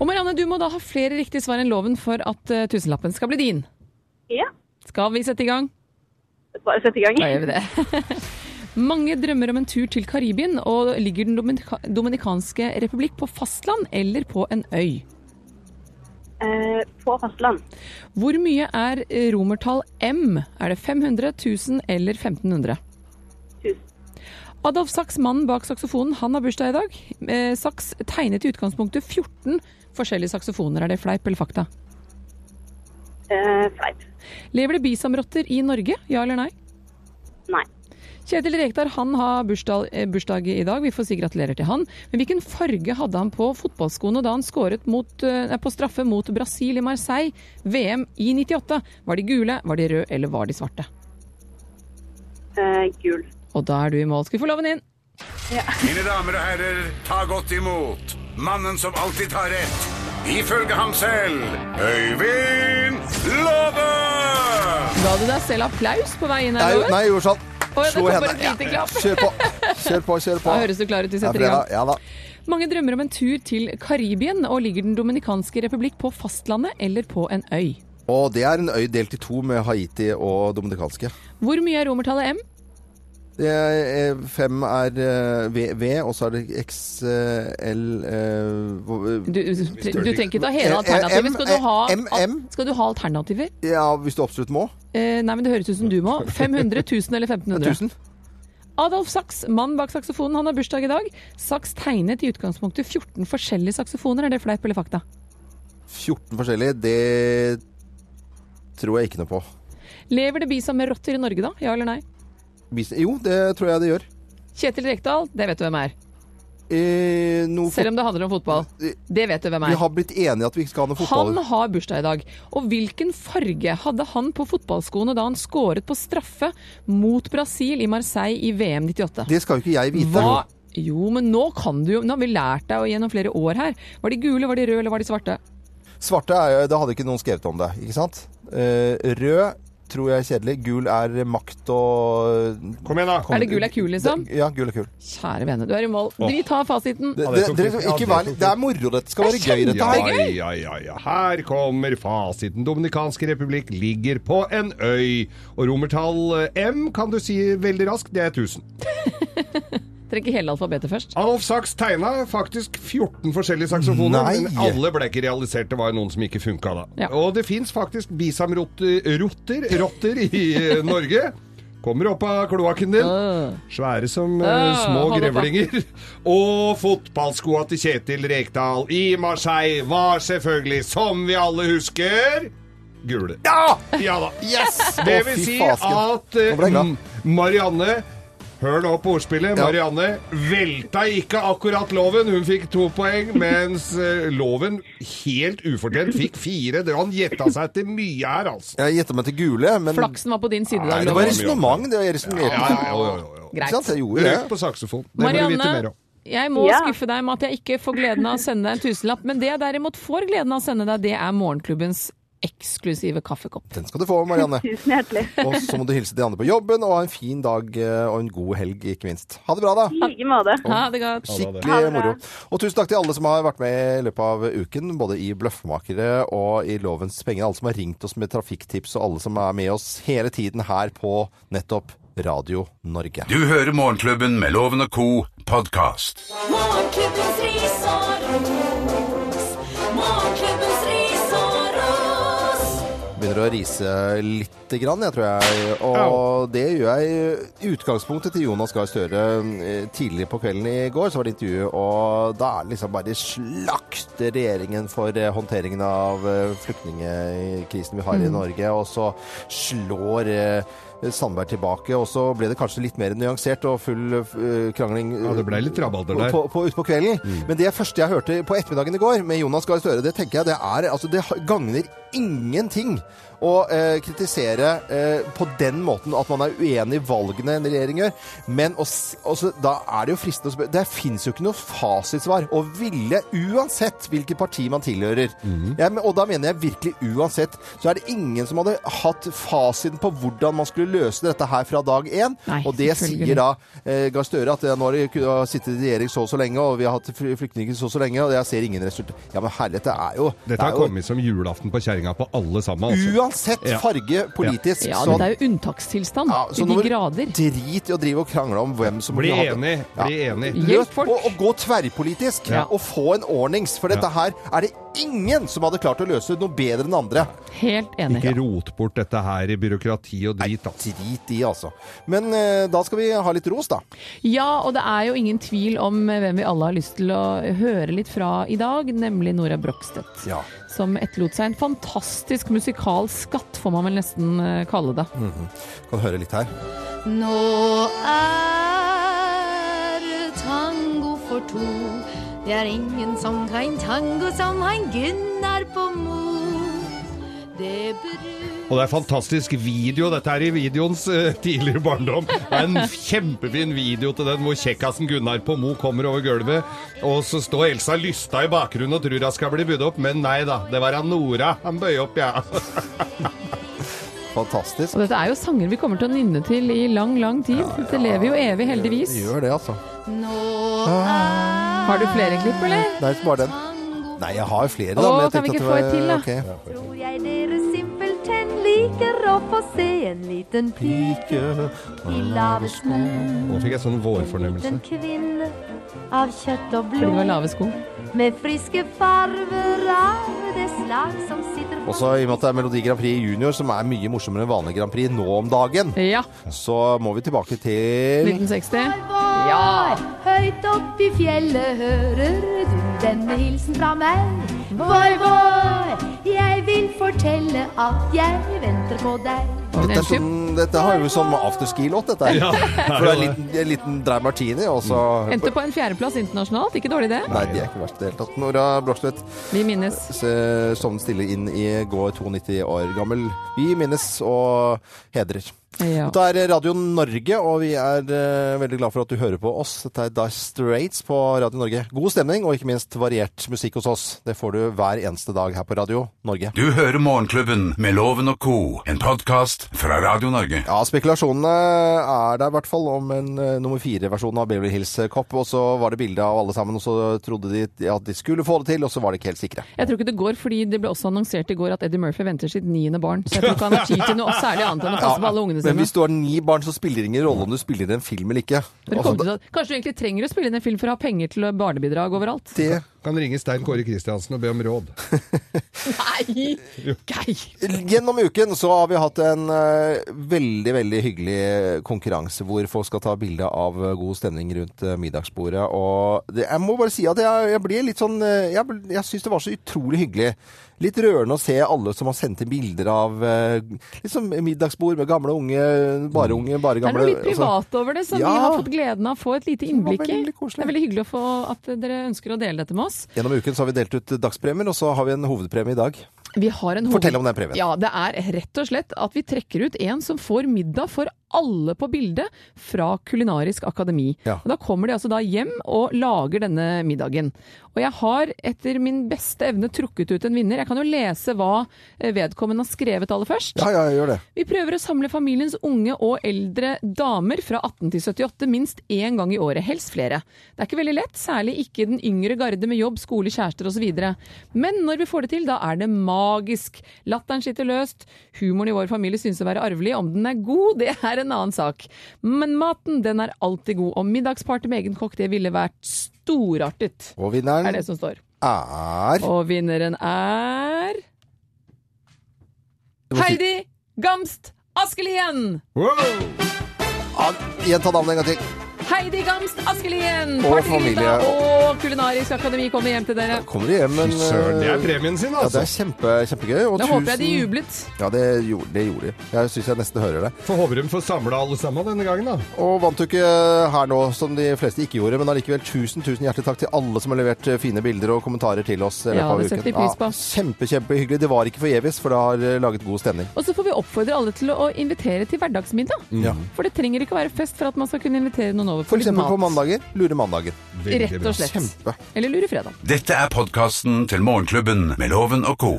[SPEAKER 2] Og Marianne, du må da ha flere riktige svar enn loven for at eh, tusenlappen skal bli din.
[SPEAKER 8] Ja,
[SPEAKER 2] Skal vi sette i gang?
[SPEAKER 8] bare sett i gang.
[SPEAKER 2] Da gjør vi det. Mange drømmer om en tur til Karibien, og ligger Den Dominika dominikanske republikk på fastland eller på en øy?
[SPEAKER 8] Eh, på fastland.
[SPEAKER 2] Hvor mye er eh, romertall m? Er det 500, 1000 eller 1500?
[SPEAKER 8] Tusen.
[SPEAKER 2] Adolf Sachs, mannen bak saksofonen, han har bursdag i dag. Eh, Sachs tegnet i utgangspunktet 14 forskjellige saksofoner. Er det fleip eller fakta?
[SPEAKER 8] Eh, Fleip.
[SPEAKER 2] Lever det bisamrotter i Norge? Ja eller nei?
[SPEAKER 8] Nei.
[SPEAKER 2] Kjetil Rekdal han har bursdag, eh, bursdag i dag. Vi får si gratulerer til han. Men hvilken farge hadde han på fotballskoene da han skåret mot, eh, nei, på straffe mot Brasil i Marseille VM i 98? Var de gule, var de røde eller var de svarte?
[SPEAKER 8] Eh, gul.
[SPEAKER 2] Og da er du i mål. Skal vi få loven inn?
[SPEAKER 4] Mine damer og herrer, ta godt imot mannen som alltid tar rett. Ifølge ham selv Øyvind Låve!
[SPEAKER 2] Ga du deg selv applaus på vei inn
[SPEAKER 1] Nei,
[SPEAKER 2] her, Loven?
[SPEAKER 1] nei, jeg gjorde sånn.
[SPEAKER 2] Å, ja, det
[SPEAKER 1] Slo
[SPEAKER 2] kom
[SPEAKER 1] henne.
[SPEAKER 2] bare et lite klapp.
[SPEAKER 1] Kjør på. Kjør på, kjør på.
[SPEAKER 2] Da høres du klar ut. Vi
[SPEAKER 1] Ja,
[SPEAKER 2] setter i gang.
[SPEAKER 1] fredag. Ja da.
[SPEAKER 2] Mange drømmer om en tur til Karibien, og ligger Den dominikanske republikk på fastlandet eller på en øy?
[SPEAKER 1] Og det er en øy delt i to med Haiti og dominikanske.
[SPEAKER 2] Hvor mye er romertallet M?
[SPEAKER 1] Det er, eh, fem er eh, V, v og så er det eh, XL
[SPEAKER 2] Du, du du trenger ikke ta hele
[SPEAKER 1] Eh, eh,
[SPEAKER 2] alternativet.
[SPEAKER 1] M,
[SPEAKER 2] Skal du ha,
[SPEAKER 1] eh, M,
[SPEAKER 2] al-
[SPEAKER 1] M.
[SPEAKER 2] skal du ha alternativer?
[SPEAKER 1] Ja, hvis du absolutt må.
[SPEAKER 2] Eh, nei, men det høres ut som du må. 500, 1000 eller 1500?
[SPEAKER 1] 1000.
[SPEAKER 2] Adolf Sachs, mann bak saksofonen, han har bursdag i dag. Sachs tegnet i utgangspunktet 14 forskjellige saksofoner. Er det fleip eller fakta?
[SPEAKER 1] 14 forskjellige, det tror jeg ikke noe på.
[SPEAKER 2] Lever det bisa med rotter i Norge, da? Ja eller nei?
[SPEAKER 1] Bis- Jo, det tror jeg det gjør.
[SPEAKER 2] Kjetil Rekdal, det vet du hvem er.
[SPEAKER 1] Eh, noe fot-
[SPEAKER 2] Selv om det handler om fotball. Det vet du hvem
[SPEAKER 1] Vi
[SPEAKER 2] er.
[SPEAKER 1] har blitt enige at vi ikke skal ha noe fotball.
[SPEAKER 2] Han har bursdag i dag. Og hvilken farge hadde han på fotballskoene da han skåret på straffe mot Brasil i Marseille i VM 98?
[SPEAKER 1] Det skal jo ikke jeg vite.
[SPEAKER 2] Hva? Jo, men nå kan du jo Nå har vi lært deg gjennom flere år her. Var de gule, var de røde, eller var de svarte?
[SPEAKER 1] Svarte er jo Da hadde ikke noen skrevet om det, ikke sant? Eh, rød tror jeg er kjedelig. Gul er makt og
[SPEAKER 3] Kom igjen, da.
[SPEAKER 1] Kom-
[SPEAKER 2] Er det gul er kul, liksom?
[SPEAKER 1] Ja, gul er kul.
[SPEAKER 2] Kjære vene, du er i mål. Vi tar fasiten.
[SPEAKER 1] Det,
[SPEAKER 3] Ja,
[SPEAKER 1] det,
[SPEAKER 3] det tok
[SPEAKER 1] dere,
[SPEAKER 3] litt- ja,
[SPEAKER 1] ikke
[SPEAKER 3] det
[SPEAKER 1] vær,
[SPEAKER 3] tok
[SPEAKER 1] det er moro, dette skal være gøy, dette her.
[SPEAKER 3] Ja, ja, ja, ja. Her kommer fasiten. Dominikanske republikk ligger på en øy. Og romertall eh, M kan du si veldig raskt, det er 1000.
[SPEAKER 2] Trenger hele alfabetet først.
[SPEAKER 3] Alf Sachs tegna faktisk 14 forskjellige saksofoner,
[SPEAKER 1] Nei.
[SPEAKER 3] men alle ble ikke realisert. Det var jo noen som ikke funka da.
[SPEAKER 2] Ja.
[SPEAKER 3] Og det fins faktisk bisamrotter rotter, rotter i eh, Norge. Kommer opp av kloakken din. Svære som eh,
[SPEAKER 2] Ah,
[SPEAKER 3] små
[SPEAKER 2] hold opp, da.
[SPEAKER 3] grevlinger. Og fotballskoa til Kjetil Rekdal i Marseille var selvfølgelig, som vi alle husker, gule. Ja! da.
[SPEAKER 1] Yes!
[SPEAKER 3] Det
[SPEAKER 1] Å,
[SPEAKER 3] vil
[SPEAKER 1] fy
[SPEAKER 3] si
[SPEAKER 1] fasken.
[SPEAKER 3] at eh,
[SPEAKER 1] Nå ble jeg glad.
[SPEAKER 3] M- Marianne Hør nå på ordspillet.
[SPEAKER 1] Ja.
[SPEAKER 3] Marianne velta ikke akkurat Loven. Hun fikk to poeng, mens eh, Loven helt ufortjent fikk fire. Det- Han gjetta seg til mye her, altså.
[SPEAKER 1] Jeg gjetta meg til gule, men
[SPEAKER 2] Flaksen var på din side
[SPEAKER 3] Nei,
[SPEAKER 2] i
[SPEAKER 1] det
[SPEAKER 2] dag.
[SPEAKER 1] var
[SPEAKER 3] mye.
[SPEAKER 2] Loven.
[SPEAKER 1] resonnement. Det var jeg resonnerte.
[SPEAKER 3] Ja, ja, ja, ja, ja.
[SPEAKER 1] Ikke sant?
[SPEAKER 2] Greit.
[SPEAKER 1] Jeg gjorde
[SPEAKER 3] Røyk
[SPEAKER 1] det.
[SPEAKER 3] på saksofon. Det må du vite mer
[SPEAKER 2] Marianne,
[SPEAKER 3] om.
[SPEAKER 2] jeg må
[SPEAKER 8] Ja.
[SPEAKER 2] skuffe deg med at jeg ikke får gleden av å sende deg en tusenlapp, men det jeg derimot får gleden av å sende deg, det er morgenklubbens eksklusive kaffekopp.
[SPEAKER 1] Den skal du få, Marianne.
[SPEAKER 8] Tusen hjertelig.
[SPEAKER 1] Og så må du hilse de andre på jobben, og ha en fin dag eh, og en god helg, ikke minst. Ha det bra, da.
[SPEAKER 8] I like måte.
[SPEAKER 2] Ha det godt.
[SPEAKER 3] Ha
[SPEAKER 1] Skikkelig
[SPEAKER 8] det bra.
[SPEAKER 1] moro. Og tusen takk til alle som har vært med i løpet av uken, både i Bløffmakere og i Lovens penger. Alle som har ringt oss med trafikktips, og alle som er med oss hele tiden her på nettopp Radio Norge.
[SPEAKER 4] Du hører Morgenklubben med Loven og Co. podkast.
[SPEAKER 9] Morgenklubbens ris og ros. Morgenklubbens ris og ros.
[SPEAKER 1] Begynner å rise lite grann, jeg tror jeg. Og det gjør jeg i utgangspunktet til Jonas Gahr Støre. eh, Tidligere på kvelden i går så var det intervju, og da er det liksom bare slakte regjeringen for eh, håndteringen av eh, flyktningekrisen vi har
[SPEAKER 3] Mm.
[SPEAKER 1] i Norge, og så slår eh, Sandberg tilbake, og så ble det kanskje litt mer nyansert og full eh, krangling
[SPEAKER 3] Ja, det ble litt rabalder
[SPEAKER 1] på,
[SPEAKER 3] der. Mm.
[SPEAKER 1] på, på, utpå kvelden. Men det første jeg hørte på ettermiddagen i går med Jonas Gahr Støre, det tenker jeg det er Altså, det gagner ingenting å eh, kritisere eh, på den måten at man er uenig i valgene en regjering gjør. Men å s- altså, da er det jo fristende å spørre Det fins jo ikke noe fasitsvar. Og ville, uansett hvilket parti man tilhører
[SPEAKER 3] Mhm.
[SPEAKER 1] jeg, men- Og da mener jeg virkelig uansett, så er det ingen som hadde hatt fasiten på hvordan man skulle løse dette her fra dag én.
[SPEAKER 2] Nei,
[SPEAKER 1] og det
[SPEAKER 2] selvfølgelig.
[SPEAKER 1] sier da eh, Gahr Støre at eh, nå har det kun- har sittet i regjering så og så lenge, og vi har hatt fly- flyktninger så og så lenge, og jeg ser ingen resultat. Ja, men herre, dette er jo det
[SPEAKER 3] Dette har
[SPEAKER 1] er jo
[SPEAKER 3] kommet som julaften på kjerringa på alle sammen. Altså.
[SPEAKER 1] Uansett
[SPEAKER 3] Ja.
[SPEAKER 1] farge politisk,
[SPEAKER 2] Ja,
[SPEAKER 1] så,
[SPEAKER 2] det er jo unntakstilstand.
[SPEAKER 1] ja, så
[SPEAKER 2] Sånn. I
[SPEAKER 1] nå må du
[SPEAKER 2] de grader.
[SPEAKER 1] drit i å drive og krangle om hvem som
[SPEAKER 3] Bli
[SPEAKER 1] kunne hatt det.
[SPEAKER 3] enig. Bli enig.
[SPEAKER 2] Hjelp
[SPEAKER 1] Løs,
[SPEAKER 2] folk.
[SPEAKER 1] og, og gå tverrpolitisk,
[SPEAKER 2] Ja.
[SPEAKER 1] og få en ordnings. For dette her er det ingen som hadde klart å løse noe bedre enn andre.
[SPEAKER 2] Helt enig.
[SPEAKER 3] Ikke rot bort dette her i byråkrati og drit, altså.
[SPEAKER 1] Drit i, altså. Men eh, da skal vi ha litt ros, da.
[SPEAKER 2] Ja, og det er jo ingen tvil om hvem vi alle har lyst til å høre litt fra i dag, nemlig Nora Brokstedt.
[SPEAKER 1] Ja.
[SPEAKER 2] Som etterlot seg en fantastisk musikal skatt, får man vel nesten eh, kalle det.
[SPEAKER 1] Kan høre litt her.
[SPEAKER 9] Nå er tango for to. Det er ingen som kan tango som han Gunnar på Mo.
[SPEAKER 11] det brun
[SPEAKER 3] Og det er fantastisk video. Dette er i videoens eh, tidligere barndom. Det er en kjempefin video til den hvor kjekkasen Gunnar på Mo kommer over gulvet, og så står Elsa Lysta i bakgrunnen og tror hun skal bli budd opp, men nei da. Det var han Nora. Han bøyer opp, ja.
[SPEAKER 1] Fantastisk.
[SPEAKER 2] Og dette er jo sanger vi kommer til å nynne til i lang, lang tid. Dette lever jo evig, heldigvis.
[SPEAKER 1] Gjør det, altså.
[SPEAKER 11] Nå
[SPEAKER 2] Har du flere klipp, eller?
[SPEAKER 1] Det er ikke bare den. Nei, jeg har flere, da.
[SPEAKER 2] Åh,
[SPEAKER 1] men jeg
[SPEAKER 2] kan vi
[SPEAKER 1] tenkte
[SPEAKER 2] ikke
[SPEAKER 1] at
[SPEAKER 2] få
[SPEAKER 1] det
[SPEAKER 2] et
[SPEAKER 1] var-
[SPEAKER 2] til,
[SPEAKER 1] ok.
[SPEAKER 11] tror jeg dere simpelthen liker å få se en liten pike i lave sko.
[SPEAKER 3] Nå fikk jeg sånn vårfornemmelse.
[SPEAKER 11] En kvinne av kjøtt og
[SPEAKER 2] Fordi det var
[SPEAKER 11] blod
[SPEAKER 2] lave sko.
[SPEAKER 11] med friske farver av det slag som sitter på
[SPEAKER 1] Også i og med at det er Melodi Grand Prix Junior, som er mye morsommere enn vanlig Grand Prix nå om dagen,
[SPEAKER 2] Ja.
[SPEAKER 1] så må vi tilbake til
[SPEAKER 2] 1960.
[SPEAKER 11] vår.
[SPEAKER 2] Ja.
[SPEAKER 11] Høyt opp i fjellet hører du denne hilsen fra meg. Voi, voi, jeg vil fortelle at jeg venter på deg.
[SPEAKER 1] Dette, er sånn, dette har jo som afterski-låt, dette her. For det er en liten, en liten dry martini, og så
[SPEAKER 2] Endte på en fjerdeplass internasjonalt. Ikke dårlig, det.
[SPEAKER 1] Nei, det er ikke verst i det hele tatt. Nora Blåstvedt
[SPEAKER 2] Vi minnes.
[SPEAKER 1] se- sovnet stille inn i går 92 år gammel. Vi minnes og hedrer.
[SPEAKER 2] Ja.
[SPEAKER 1] Dette er Radio Norge, og vi er eh, veldig glad for at du hører på oss. Dette er Dice Straits på Radio Norge. God stemning, og ikke minst variert musikk hos oss. Det får du hver eneste dag her på Radio Norge.
[SPEAKER 4] Du hører Morgenklubben med Loven og co., en podkast fra Radio Norge.
[SPEAKER 1] Ja, spekulasjonene er der i hvert fall om en eh, nummer fire-versjon av Beverly Hills Cop. Og så var det bilde av alle sammen, og så trodde de at de skulle få det til, og så var de ikke helt sikre.
[SPEAKER 2] Jeg tror ikke det går, fordi det ble også annonsert i går at Eddie Murphy venter sitt niende barn. Så jeg tror ikke han har tid til noe særlig annet enn å passe på alle ungene
[SPEAKER 1] Men
[SPEAKER 2] sine.
[SPEAKER 1] hvis du har ni barn, så spiller det ingen rolle om du spiller inn en film eller ikke.
[SPEAKER 2] Dere
[SPEAKER 1] Altså,
[SPEAKER 2] kom til at Kanskje du egentlig trenger å spille inn en film for å ha penger til barnebidrag overalt?
[SPEAKER 1] det
[SPEAKER 3] Kan ringe Stein Kåre Kristiansen og be om råd.
[SPEAKER 2] Nei! Geir!
[SPEAKER 1] Gjennom uken så har vi hatt en eh, veldig, veldig hyggelig konkurranse hvor folk skal ta bilde av eh, god stemning rundt eh, middagsbordet. Og det, jeg må bare si at jeg, jeg blir litt sånn eh, Jeg, bl- jeg syns det var så utrolig hyggelig. Litt rørende å se alle som har sendt inn bilder av eh, liksom middagsbord med gamle unge, bare unge, bare
[SPEAKER 2] Det er
[SPEAKER 1] gamle.
[SPEAKER 2] noe litt
[SPEAKER 1] og så-
[SPEAKER 2] privat over det, som
[SPEAKER 1] altså- Ja.
[SPEAKER 2] vi har fått gleden av å få et lite innblikk i.
[SPEAKER 1] veldig koselig.
[SPEAKER 2] Det er veldig hyggelig å få at dere ønsker å dele dette med oss.
[SPEAKER 1] Gjennom uken så har vi delt ut dagspremier, og så har vi en hovedpremie i dag.
[SPEAKER 2] Vi har en
[SPEAKER 1] Fortell
[SPEAKER 2] hoved-
[SPEAKER 1] om den premien.
[SPEAKER 2] Ja, det er rett og slett at vi trekker ut en som får middag for alle på bildet fra Kulinarisk akademi.
[SPEAKER 1] Ja.
[SPEAKER 2] Og da kommer de altså da hjem og lager denne middagen. Og jeg har etter min beste evne trukket ut en vinner. Jeg kan jo lese hva eh, vedkommende har skrevet aller først.
[SPEAKER 1] Ja, ja, gjør det.
[SPEAKER 2] Vi prøver å samle familiens unge og eldre damer fra 18 til 78 minst én gang i året, helst flere. Det er ikke veldig lett, særlig ikke den yngre garde med jobb, skole, kjærester osv. Men når vi får det til, da er det magisk. Latteren sitter løst. Humoren i vår familie synes å være arvelig. Om den er god, det er en annen sak. Men maten, den er alltid god. Og middagsparty med egen kokk, det ville vært storartet,
[SPEAKER 1] Og
[SPEAKER 2] er
[SPEAKER 1] vinneren
[SPEAKER 2] det som står.
[SPEAKER 1] er
[SPEAKER 2] Og vinneren er
[SPEAKER 1] må si-
[SPEAKER 2] Heidi Gamst Askelien!
[SPEAKER 1] Ah, Gjenta navnet en gang til.
[SPEAKER 2] Heidi Gamst Askelien!
[SPEAKER 1] Og
[SPEAKER 2] Partygryta
[SPEAKER 1] familie.
[SPEAKER 2] og Kulinarisk akademi kommer hjem til dere.
[SPEAKER 1] Kommer du hjem, men
[SPEAKER 3] Søren, det
[SPEAKER 1] eh,
[SPEAKER 3] er premien sin,
[SPEAKER 1] Ja, det
[SPEAKER 3] altså.
[SPEAKER 1] er kjempe, kjempegøy. Og
[SPEAKER 2] Da håper jeg de
[SPEAKER 1] tusen-
[SPEAKER 2] jublet.
[SPEAKER 1] Ja, det gjorde, det gjorde de. Jeg syns jeg nesten hører det.
[SPEAKER 3] Får håpe de får samla alle sammen denne gangen, da.
[SPEAKER 1] Og vant du ikke eh, her nå, som de fleste ikke gjorde, men allikevel tusen, tusen hjertelig takk til alle som har levert eh, fine bilder og kommentarer til oss. i løpet
[SPEAKER 2] Ja,
[SPEAKER 1] av
[SPEAKER 2] det setter
[SPEAKER 1] uken.
[SPEAKER 2] vi pris på.
[SPEAKER 1] kjempe, kjempehyggelig. Det var ikke forgjeves, for det har eh, laget god stemning.
[SPEAKER 2] Og så får vi oppfordre alle til å invitere til hverdagsmiddag.
[SPEAKER 1] Ja.
[SPEAKER 2] For det trenger ikke å være fest for at man skal kunne invitere noen over
[SPEAKER 1] For
[SPEAKER 2] for litt
[SPEAKER 1] eksempel
[SPEAKER 2] mat.
[SPEAKER 1] på mandager. Lure mandager.
[SPEAKER 3] Veldig
[SPEAKER 2] Rett
[SPEAKER 3] bra.
[SPEAKER 2] og slett.
[SPEAKER 1] Kjempe.
[SPEAKER 2] Eller lure fredag.
[SPEAKER 4] Dette er podkasten til Morgenklubben med Loven og co.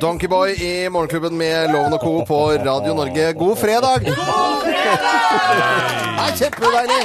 [SPEAKER 1] Donkeyboy i Morgenklubben med Loven og Co. på Radio Norge. God fredag! God fredag! Det er kjempedeilig!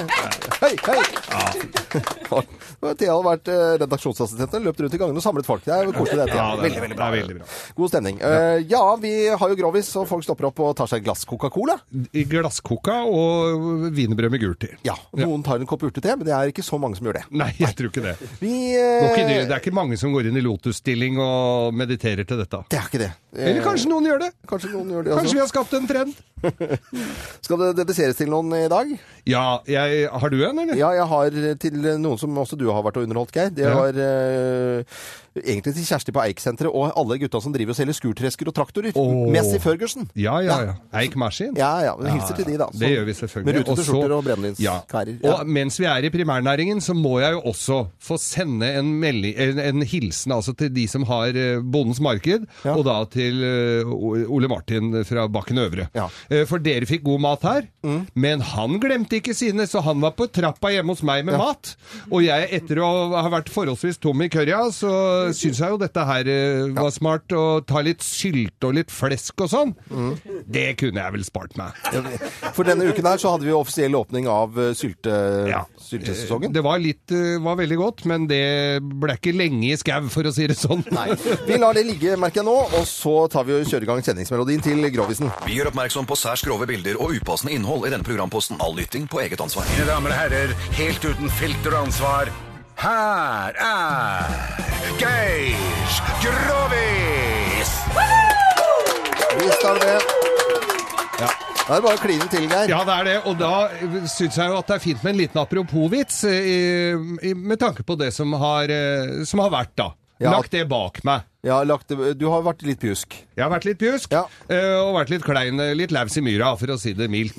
[SPEAKER 1] Hei, hei! Og Thea hadde vært eh, redaksjonsassistent og løpt rundt i gangen og samlet folk. Det er jo koselig. Det, Thea.
[SPEAKER 3] Ja, det er
[SPEAKER 1] veldig, veldig bra.
[SPEAKER 3] Det er veldig bra.
[SPEAKER 1] God stemning. Eh, ja, vi har jo Grovis, og folk stopper opp og tar seg et glass Coca-Cola.
[SPEAKER 3] I glasskoka og wienerbrød med gult i.
[SPEAKER 1] Ja, Noen tar en kopp urtete, men det er ikke så mange som gjør det.
[SPEAKER 3] Nei, jeg tror ikke det. Det
[SPEAKER 1] Vi
[SPEAKER 3] er
[SPEAKER 1] eh,
[SPEAKER 3] ikke, det er ikke mange som går inn i lotusstilling og mediterer til dette.
[SPEAKER 1] Det er ikke det. Eh,
[SPEAKER 3] Eller kanskje noen gjør det.
[SPEAKER 1] kanskje noen gjør det
[SPEAKER 3] Kanskje vi
[SPEAKER 1] også.
[SPEAKER 3] har skapt en trend.
[SPEAKER 1] Skal det dediseres til noen i dag?
[SPEAKER 3] Ja, jeg, har du en, eller?
[SPEAKER 1] Ja, jeg har til noen som også du har vært og underholdt, Geir. Det
[SPEAKER 3] Ja.
[SPEAKER 1] var eh, egentlig til Kjersti på Eik-senteret og alle gutta som driver og selger skurtresker og traktorer.
[SPEAKER 3] Åh.
[SPEAKER 1] Messi Ferguson.
[SPEAKER 3] Ja, ja, ja. Eikmaskin.
[SPEAKER 1] Ja, ja. Vi hilser
[SPEAKER 3] Ja,
[SPEAKER 1] til de, da.
[SPEAKER 3] ja.
[SPEAKER 1] Så-
[SPEAKER 3] Det gjør vi selvfølgelig.
[SPEAKER 1] altså. Med rutete
[SPEAKER 3] så-
[SPEAKER 1] skjorter og brennevinskærer.
[SPEAKER 3] Ja. Og mens vi er i primærnæringen, så må jeg jo også få sende en, melding, en, en hilsen altså, til de som har eh, Bondens Marked, og da til eh, O- Ole Martin fra Bakken Øvre. Eh, For dere fikk god mat her,
[SPEAKER 1] Mm.
[SPEAKER 3] men han glemte ikke sine, så han var på trappa hjemme hos meg med
[SPEAKER 12] Ja.
[SPEAKER 3] mat. Og jeg, etter å ha vært forholdsvis tom i kørja, så syns jeg jo dette her eh, var smart, å ta litt sylte og litt flesk og sånn.
[SPEAKER 1] Mm.
[SPEAKER 3] Det kunne jeg vel spart meg.
[SPEAKER 1] For denne uken her så hadde vi jo offisiell åpning av eh, sylte, syltesesongen.
[SPEAKER 3] Det var, litt, eh, var veldig godt, men det ble ikke lenge i skau, for å si det sånn.
[SPEAKER 1] Vi lar det ligge, merker jeg nå, og så tar vi og kjører i gang kjenningsmelodien til Grovisen.
[SPEAKER 13] Vi gjør oppmerksom på særs grove bilder og upassende innhold i denne programposten. All lytting på eget ansvar.
[SPEAKER 4] Mine damer og herrer, helt uten filter og ansvar, her er Geir Grovis!
[SPEAKER 1] Vi starter med Da er det bare å kline til, Geir.
[SPEAKER 3] Ja, det er det. Og da syns jeg jo at det er fint med en liten apropos-vits, eh, i- i- med tanke på det som har, eh, som har vært, da.
[SPEAKER 1] Ja.
[SPEAKER 3] Lagt det bak meg.
[SPEAKER 1] Ja, lagt, det- du har vært litt pjusk.
[SPEAKER 3] Jeg har vært litt pjusk, eh, og vært litt klein, eh, litt laus i myra, for å si det mildt.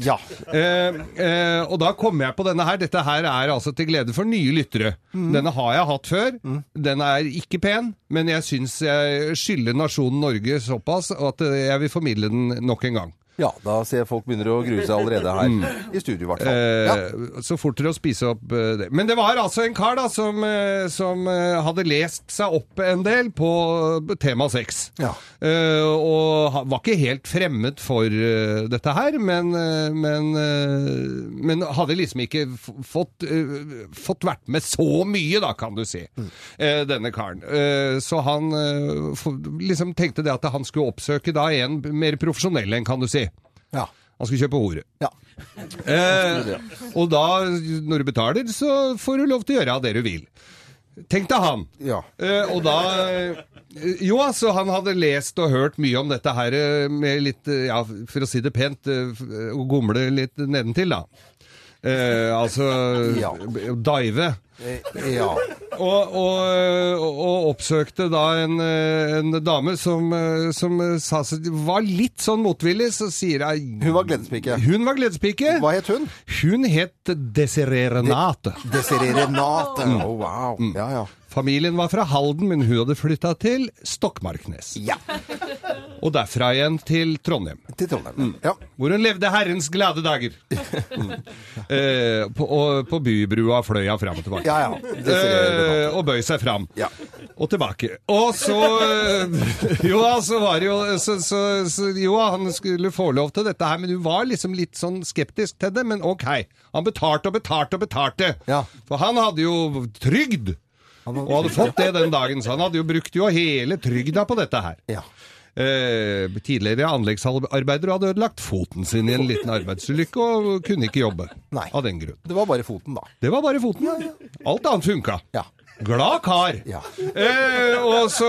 [SPEAKER 3] Eh, eh, og da kommer jeg på denne her. Dette her er altså til glede for nye lyttere.
[SPEAKER 12] Mm.
[SPEAKER 3] Denne har jeg hatt før. Den er ikke pen, men jeg syns jeg skylder nasjonen Norge såpass at eh, jeg vil formidle den nok en gang.
[SPEAKER 1] Ja, da ser jeg folk begynner å grue seg allerede her. I studio, i hvert fall.
[SPEAKER 3] Mm. Eh, Så fort dere å spise opp eh, det. Men det var altså en kar da som, eh, som eh, hadde lest seg opp en del på eh, tema sex. Eh, og ha- var ikke helt fremmed for eh, dette her, men, eh, men, eh, men hadde liksom ikke f fått, eh, fått vært med så mye, da, kan du si, eh, denne karen. Eh, så han eh, f- liksom tenkte det at han skulle oppsøke da en mer profesjonell en, kan du si. Han skulle kjøpe hore. Eh, og da, når du betaler, så får du lov til å gjøre det du vil. Tenkte han. Eh, og da eh, Jo, altså, han hadde lest og hørt mye om dette her eh, med litt, eh, ja, for å si det pent, eh, f- eh, å gomle litt nedentil, da. Eh, altså
[SPEAKER 12] Ja.
[SPEAKER 3] b- dive.
[SPEAKER 12] Eh, ja.
[SPEAKER 3] Og, og, og oppsøkte da en, eh, en dame som, eh, som eh, sa, var litt sånn motvillig, så sier jeg
[SPEAKER 1] Hun var gledespike.
[SPEAKER 3] Hun var gledespike.
[SPEAKER 1] Hva het hun?
[SPEAKER 3] Hun het Desiree Renate.
[SPEAKER 1] Desiree Renate.
[SPEAKER 3] Mm.
[SPEAKER 1] Oh, wow.
[SPEAKER 3] Mm.
[SPEAKER 1] Ja, ja.
[SPEAKER 3] Familien var fra Halden, men hun hadde flytta til Stokmarknes. Og derfra igjen til Trondheim.
[SPEAKER 1] Til Trondheim,
[SPEAKER 3] Mm.
[SPEAKER 1] ja.
[SPEAKER 3] Hvor hun levde herrens glade dager. mm. eh, på, og, på bybrua fløy hun fram og tilbake.
[SPEAKER 12] Ja, ja.
[SPEAKER 3] Eh, og bøy seg fram. Og tilbake. Og så eh, Jo, da, så var det jo så, så, så, Jo, da, han skulle få lov til dette her, men hun var liksom litt sånn skeptisk til det. Men OK. Han betalte og betalte og betalte. For han hadde jo trygd. Og hadde fått det den dagen, så han hadde jo brukt jo hele trygda på dette her. Eh, tidligere anleggsarbeider og hadde ødelagt foten sin i en liten arbeidsulykke og kunne ikke jobbe av den grunn.
[SPEAKER 1] Det var bare foten, da.
[SPEAKER 3] Det var bare foten. Alt annet funka. Glad kar. Eh, og så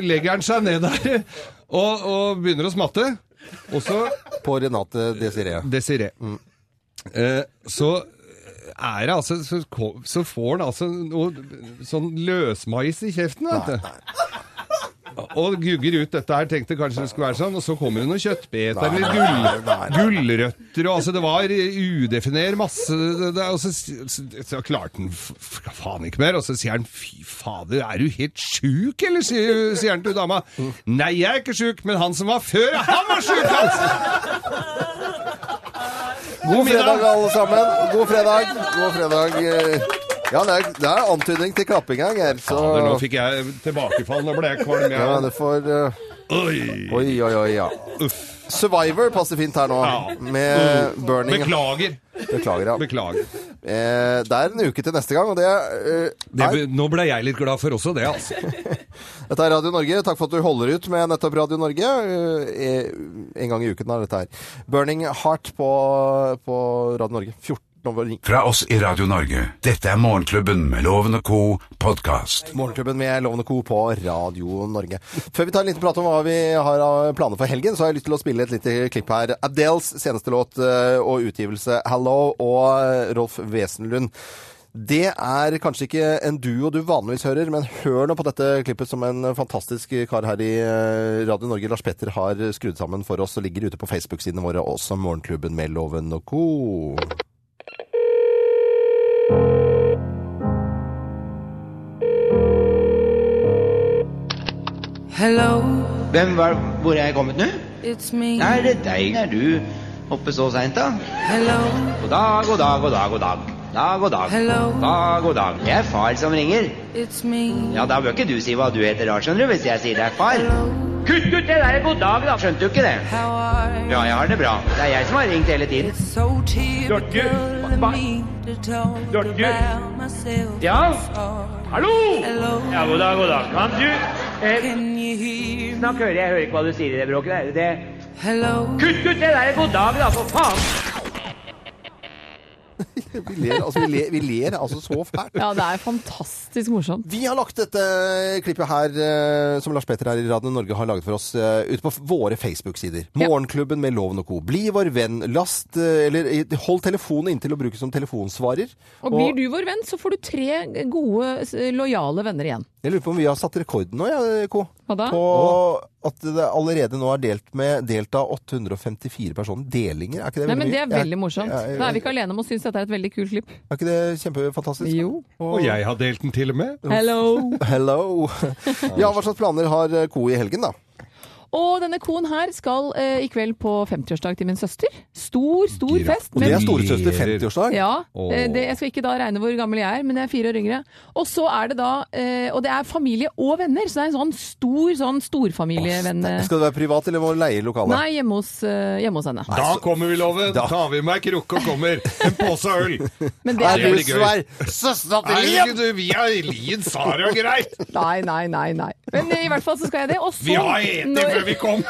[SPEAKER 3] legger han seg ned der og, og begynner å smatte. Og så
[SPEAKER 1] På Renate Desiree.
[SPEAKER 3] Desiree. Mm. Eh, så er det altså så, ko- så får han altså noe sånn løsmais i kjeften, vet du. Og gugger ut dette her, tenkte kanskje det skulle være sånn, og så kommer det noen kjøttbeter
[SPEAKER 12] Nei,
[SPEAKER 3] eller
[SPEAKER 12] nei,
[SPEAKER 3] gull,
[SPEAKER 12] nei, nei.
[SPEAKER 3] gullrøtter, og altså det var udefiner masse, det, det, og så, så, så klarte han f- f- faen ikke mer, og så sier han, fy fader, er du helt sjuk, eller sier, sier han til dama,
[SPEAKER 12] Mm.
[SPEAKER 3] nei, jeg er ikke sjuk, men han som var før, han var sjuk, altså!
[SPEAKER 1] God
[SPEAKER 3] middag.
[SPEAKER 1] fredag, alle sammen. God fredag. God fredag. eh. Ja, det er, det er antydning til klapping her, Geir. Så...
[SPEAKER 3] Fader, nå fikk jeg tilbakefall, nå ble jeg kvalm, jeg.
[SPEAKER 1] Ja, det får eh,
[SPEAKER 3] Oi.
[SPEAKER 1] oi, oi, oi, ja. Survivor passer fint her nå, med burning.
[SPEAKER 3] Mm. Beklager.
[SPEAKER 1] Beklager, ja.
[SPEAKER 3] Beklager.
[SPEAKER 1] Eh, det er en uke til neste gang, og det eh,
[SPEAKER 3] Det,
[SPEAKER 1] er
[SPEAKER 3] nå ble jeg litt glad for også det, altså.
[SPEAKER 1] Dette er Radio Norge. Takk for at du holder ut med nettopp Radio Norge. Eh, En gang i uken er dette her. Burning Heart på, på Radio Norge. 14 over 9.
[SPEAKER 4] Fra oss i Radio Norge, dette er Morgenklubben med Loven og Co. podkast.
[SPEAKER 1] Morgenklubben med Lovende Co. på Radio Norge. Før vi tar en liten prat om hva vi har av planer for helgen, så har jeg lyst til å spille et lite klipp her. Adeles seneste låt eh, og utgivelse 'Hello' og Rolf Wesenlund. Det er kanskje ikke en duo du vanligvis hører, men hør nå på dette klippet som en fantastisk kar her i eh, Radio Norge, Lars Petter, har skrudd sammen for oss og ligger ute på Facebook-sidene våre, også Morgenklubben med Loven og co.
[SPEAKER 12] Hello. Hvem var Hvor er jeg kommet nå?
[SPEAKER 14] It's me.
[SPEAKER 12] Er det deg? Er du oppe så seint, da?
[SPEAKER 14] Hello.
[SPEAKER 12] God dag, god dag, god dag, god dag. Dag, god dag.
[SPEAKER 14] Hello.
[SPEAKER 12] Dag, god dag. Det er far som ringer.
[SPEAKER 14] It's me.
[SPEAKER 12] Ja, da bør ikke du si hva du heter da, skjønner du, hvis jeg sier det er far. Kutt ut det der god dag, da. Skjønte du ikke det? Ja, jeg har det bra. Det er jeg som har ringt hele tiden.
[SPEAKER 14] Bjarte! Bjarte!
[SPEAKER 12] Ja? Hallo!
[SPEAKER 14] Ja, god dag, god dag. Kan
[SPEAKER 12] du eh, Snakk hører jeg hører ikke hva du sier i det bråket der. Det... Kutt ut det der god dag, da, for faen!
[SPEAKER 1] Vi ler, altså, vi ler, vi ler altså så fælt.
[SPEAKER 2] Ja, det er fantastisk morsomt.
[SPEAKER 1] Vi har lagt dette klippet her, eh, som Lars Petter her i Radio Norge har laget for oss, eh, ute på f- våre Facebook-sider. Morgenklubben med Loven og Co. Bli vår venn. Last, eh, eller eh, hold telefonen inntil å bruke som telefonsvarer.
[SPEAKER 2] Og blir du vår venn, så får du tre gode, s- lojale venner igjen.
[SPEAKER 1] Jeg lurer på om vi har satt rekorden nå, ja, eh, Co.
[SPEAKER 2] Hva da?
[SPEAKER 1] På at det allerede nå er delt med delt av 854 personer. Delinger, er ikke det
[SPEAKER 2] Nei,
[SPEAKER 1] veldig
[SPEAKER 2] men Det
[SPEAKER 1] mye?
[SPEAKER 2] er veldig morsomt.
[SPEAKER 1] Jeg- jeg-
[SPEAKER 2] Nå er vi ikke alene om å synes dette er et veldig kult klipp.
[SPEAKER 1] Er ikke det kjempefantastisk?
[SPEAKER 2] Jo.
[SPEAKER 3] Og jeg har delt den til og med.
[SPEAKER 2] Hello.
[SPEAKER 1] Hello. Ja, hva slags planer har eh, Co i helgen, da?
[SPEAKER 2] Og denne koen her skal eh, i kveld på 50-årsdag til min søster. Stor, stor fest.
[SPEAKER 1] Og det er storesøster 50-årsdag?
[SPEAKER 2] Ja. eh, Det, jeg skal ikke da regne hvor gammel jeg er, men jeg er fire år yngre. Og så er det da eh, Og det er familie og venner, så det er en sånn stor sånn storfamilievenn.
[SPEAKER 1] Skal det være privat, eller må du leie lokale?
[SPEAKER 2] eh. Nei, hjemme hos, eh, hjemme hos henne.
[SPEAKER 3] Da kommer vi, Loven. Da tar vi med ei krukke og kommer. En pose øl.
[SPEAKER 2] Men det- Er du svær?
[SPEAKER 1] Søstera
[SPEAKER 2] til Liam?
[SPEAKER 3] Vi har Lien, Sara og greit.
[SPEAKER 2] Nei, nei, nei. nei. Men eh, i hvert fall så skal jeg det. Og så
[SPEAKER 3] Vi har eti
[SPEAKER 2] når-
[SPEAKER 3] før vi kom.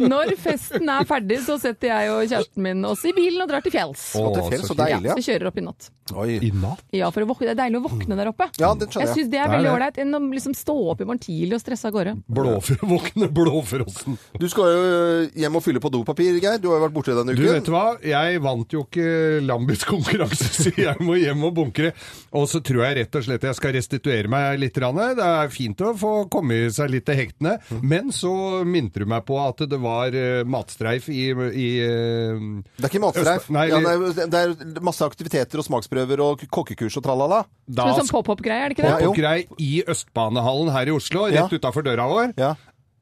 [SPEAKER 2] Når festen er ferdig, så setter jeg og kjæresten min oss i bilen og drar til fjells.
[SPEAKER 1] Å, til fjells, så deilig, ja.
[SPEAKER 2] Ja, så kjører opp i natt.
[SPEAKER 1] Oi.
[SPEAKER 3] I natt?
[SPEAKER 2] Ja, for å våk- Det er deilig å våkne der oppe.
[SPEAKER 1] Ja, det skjønner
[SPEAKER 2] jeg
[SPEAKER 1] jeg.
[SPEAKER 2] syns det er
[SPEAKER 3] Det er
[SPEAKER 2] veldig
[SPEAKER 3] det.
[SPEAKER 2] ålreit enn å liksom stå opp i morgen tidlig og stresse av gårde.
[SPEAKER 3] Blåfro, våkne blåfrossen.
[SPEAKER 1] Du skal jo eh, hjem og fylle på dopapir, Geir. Du har jo vært borte denne
[SPEAKER 3] Du
[SPEAKER 1] uken.
[SPEAKER 3] vet hva, jeg vant jo ikke Lambis konkurranse, så jeg må hjem og bunkre. Og så tror jeg rett og slett jeg skal restituere meg litt. grann. Det er fint å få komme seg litt til hektene. Men så minte du meg på at det var eh, matstreif i, i eh, Det
[SPEAKER 1] er ikke matstreif.
[SPEAKER 3] Nei,
[SPEAKER 1] Ja, det, er, det er masse aktiviteter og smaksprøver og kokkekurs og tralala.
[SPEAKER 3] Da Sånn som skal-
[SPEAKER 2] pop-up-greie, er det
[SPEAKER 3] Popgrei i Østbanehallen her i Oslo, rett
[SPEAKER 1] Ja.
[SPEAKER 3] utafor døra vår.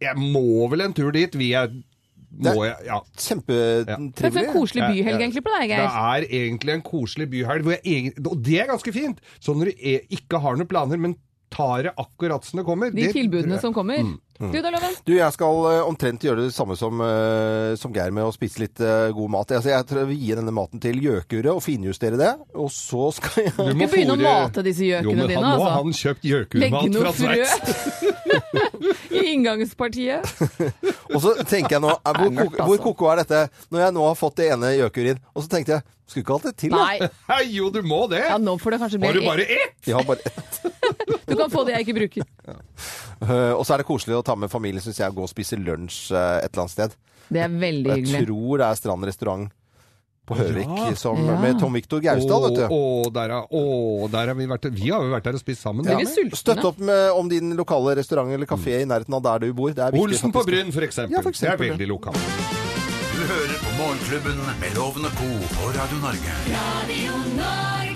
[SPEAKER 3] Jeg må vel en tur dit. Vi er må jeg, ja.
[SPEAKER 2] Det er en koselig byhelg egentlig på deg, Geir.
[SPEAKER 3] Det er egentlig en koselig byhelg, hvor jeg egen- og det er ganske fint. Så når du er, ikke har noen planer, men tar det akkurat som det kommer
[SPEAKER 2] De
[SPEAKER 3] det-
[SPEAKER 2] tilbudene som kommer.
[SPEAKER 3] Mm.
[SPEAKER 1] Mm.
[SPEAKER 2] Du da, Loven?
[SPEAKER 1] Du, jeg skal eh, omtrent gjøre det samme som, eh, som Geir med å spise litt eh, god mat. Altså, jeg tror jeg vil gi denne maten til gjøkuret og finjustere det, og så skal jeg
[SPEAKER 2] Du skal begynne å mate disse
[SPEAKER 3] Jo,
[SPEAKER 2] gjøkene
[SPEAKER 3] men
[SPEAKER 2] dine,
[SPEAKER 3] han, Nå
[SPEAKER 2] altså.
[SPEAKER 3] har han kjøpt
[SPEAKER 2] Legge
[SPEAKER 3] gjøkurmat
[SPEAKER 2] noe
[SPEAKER 3] fra Sveits.
[SPEAKER 2] frø i inngangspartiet.
[SPEAKER 1] Og så tenker jeg nå, eh, hvor,
[SPEAKER 2] Det er mørkt,
[SPEAKER 1] ko- hvor
[SPEAKER 2] altså.
[SPEAKER 1] koko er dette? Når jeg nå har fått det ene gjøkuret inn. Og så tenkte jeg, skulle ikke hatt det til,
[SPEAKER 2] Nei.
[SPEAKER 3] jo, du må det.
[SPEAKER 2] Ja, nå får det kanskje bli
[SPEAKER 3] ett?
[SPEAKER 1] Jeg har bare ett.
[SPEAKER 2] Du kan få det jeg ikke bruker.
[SPEAKER 1] Eh, og så er det koselig å ta med familien, syns jeg, og gå og spise lunsj eh, et eller annet sted.
[SPEAKER 2] Det er veldig
[SPEAKER 1] Og Jeg
[SPEAKER 2] hyggelig.
[SPEAKER 1] tror det er Strand restaurant på Høvik
[SPEAKER 3] Ja.
[SPEAKER 1] som, med Tom Viktor Gaustad, vet du.
[SPEAKER 3] Å, å, der, er- å, der har vi vært Vi har jo vært der og spist sammen.
[SPEAKER 1] Ja. Støtt opp med, om din lokale restaurant eller kafé i nærheten av der du bor. Det er viktig,
[SPEAKER 3] Olsen på
[SPEAKER 1] faktisk.
[SPEAKER 3] Bryn, for eksempel.
[SPEAKER 1] Ja, for eksempel.
[SPEAKER 3] Det er veldig lokalt.
[SPEAKER 13] Du hører på Morgenklubben med Loven og Co. på Radio Norge.
[SPEAKER 9] Radio Norge.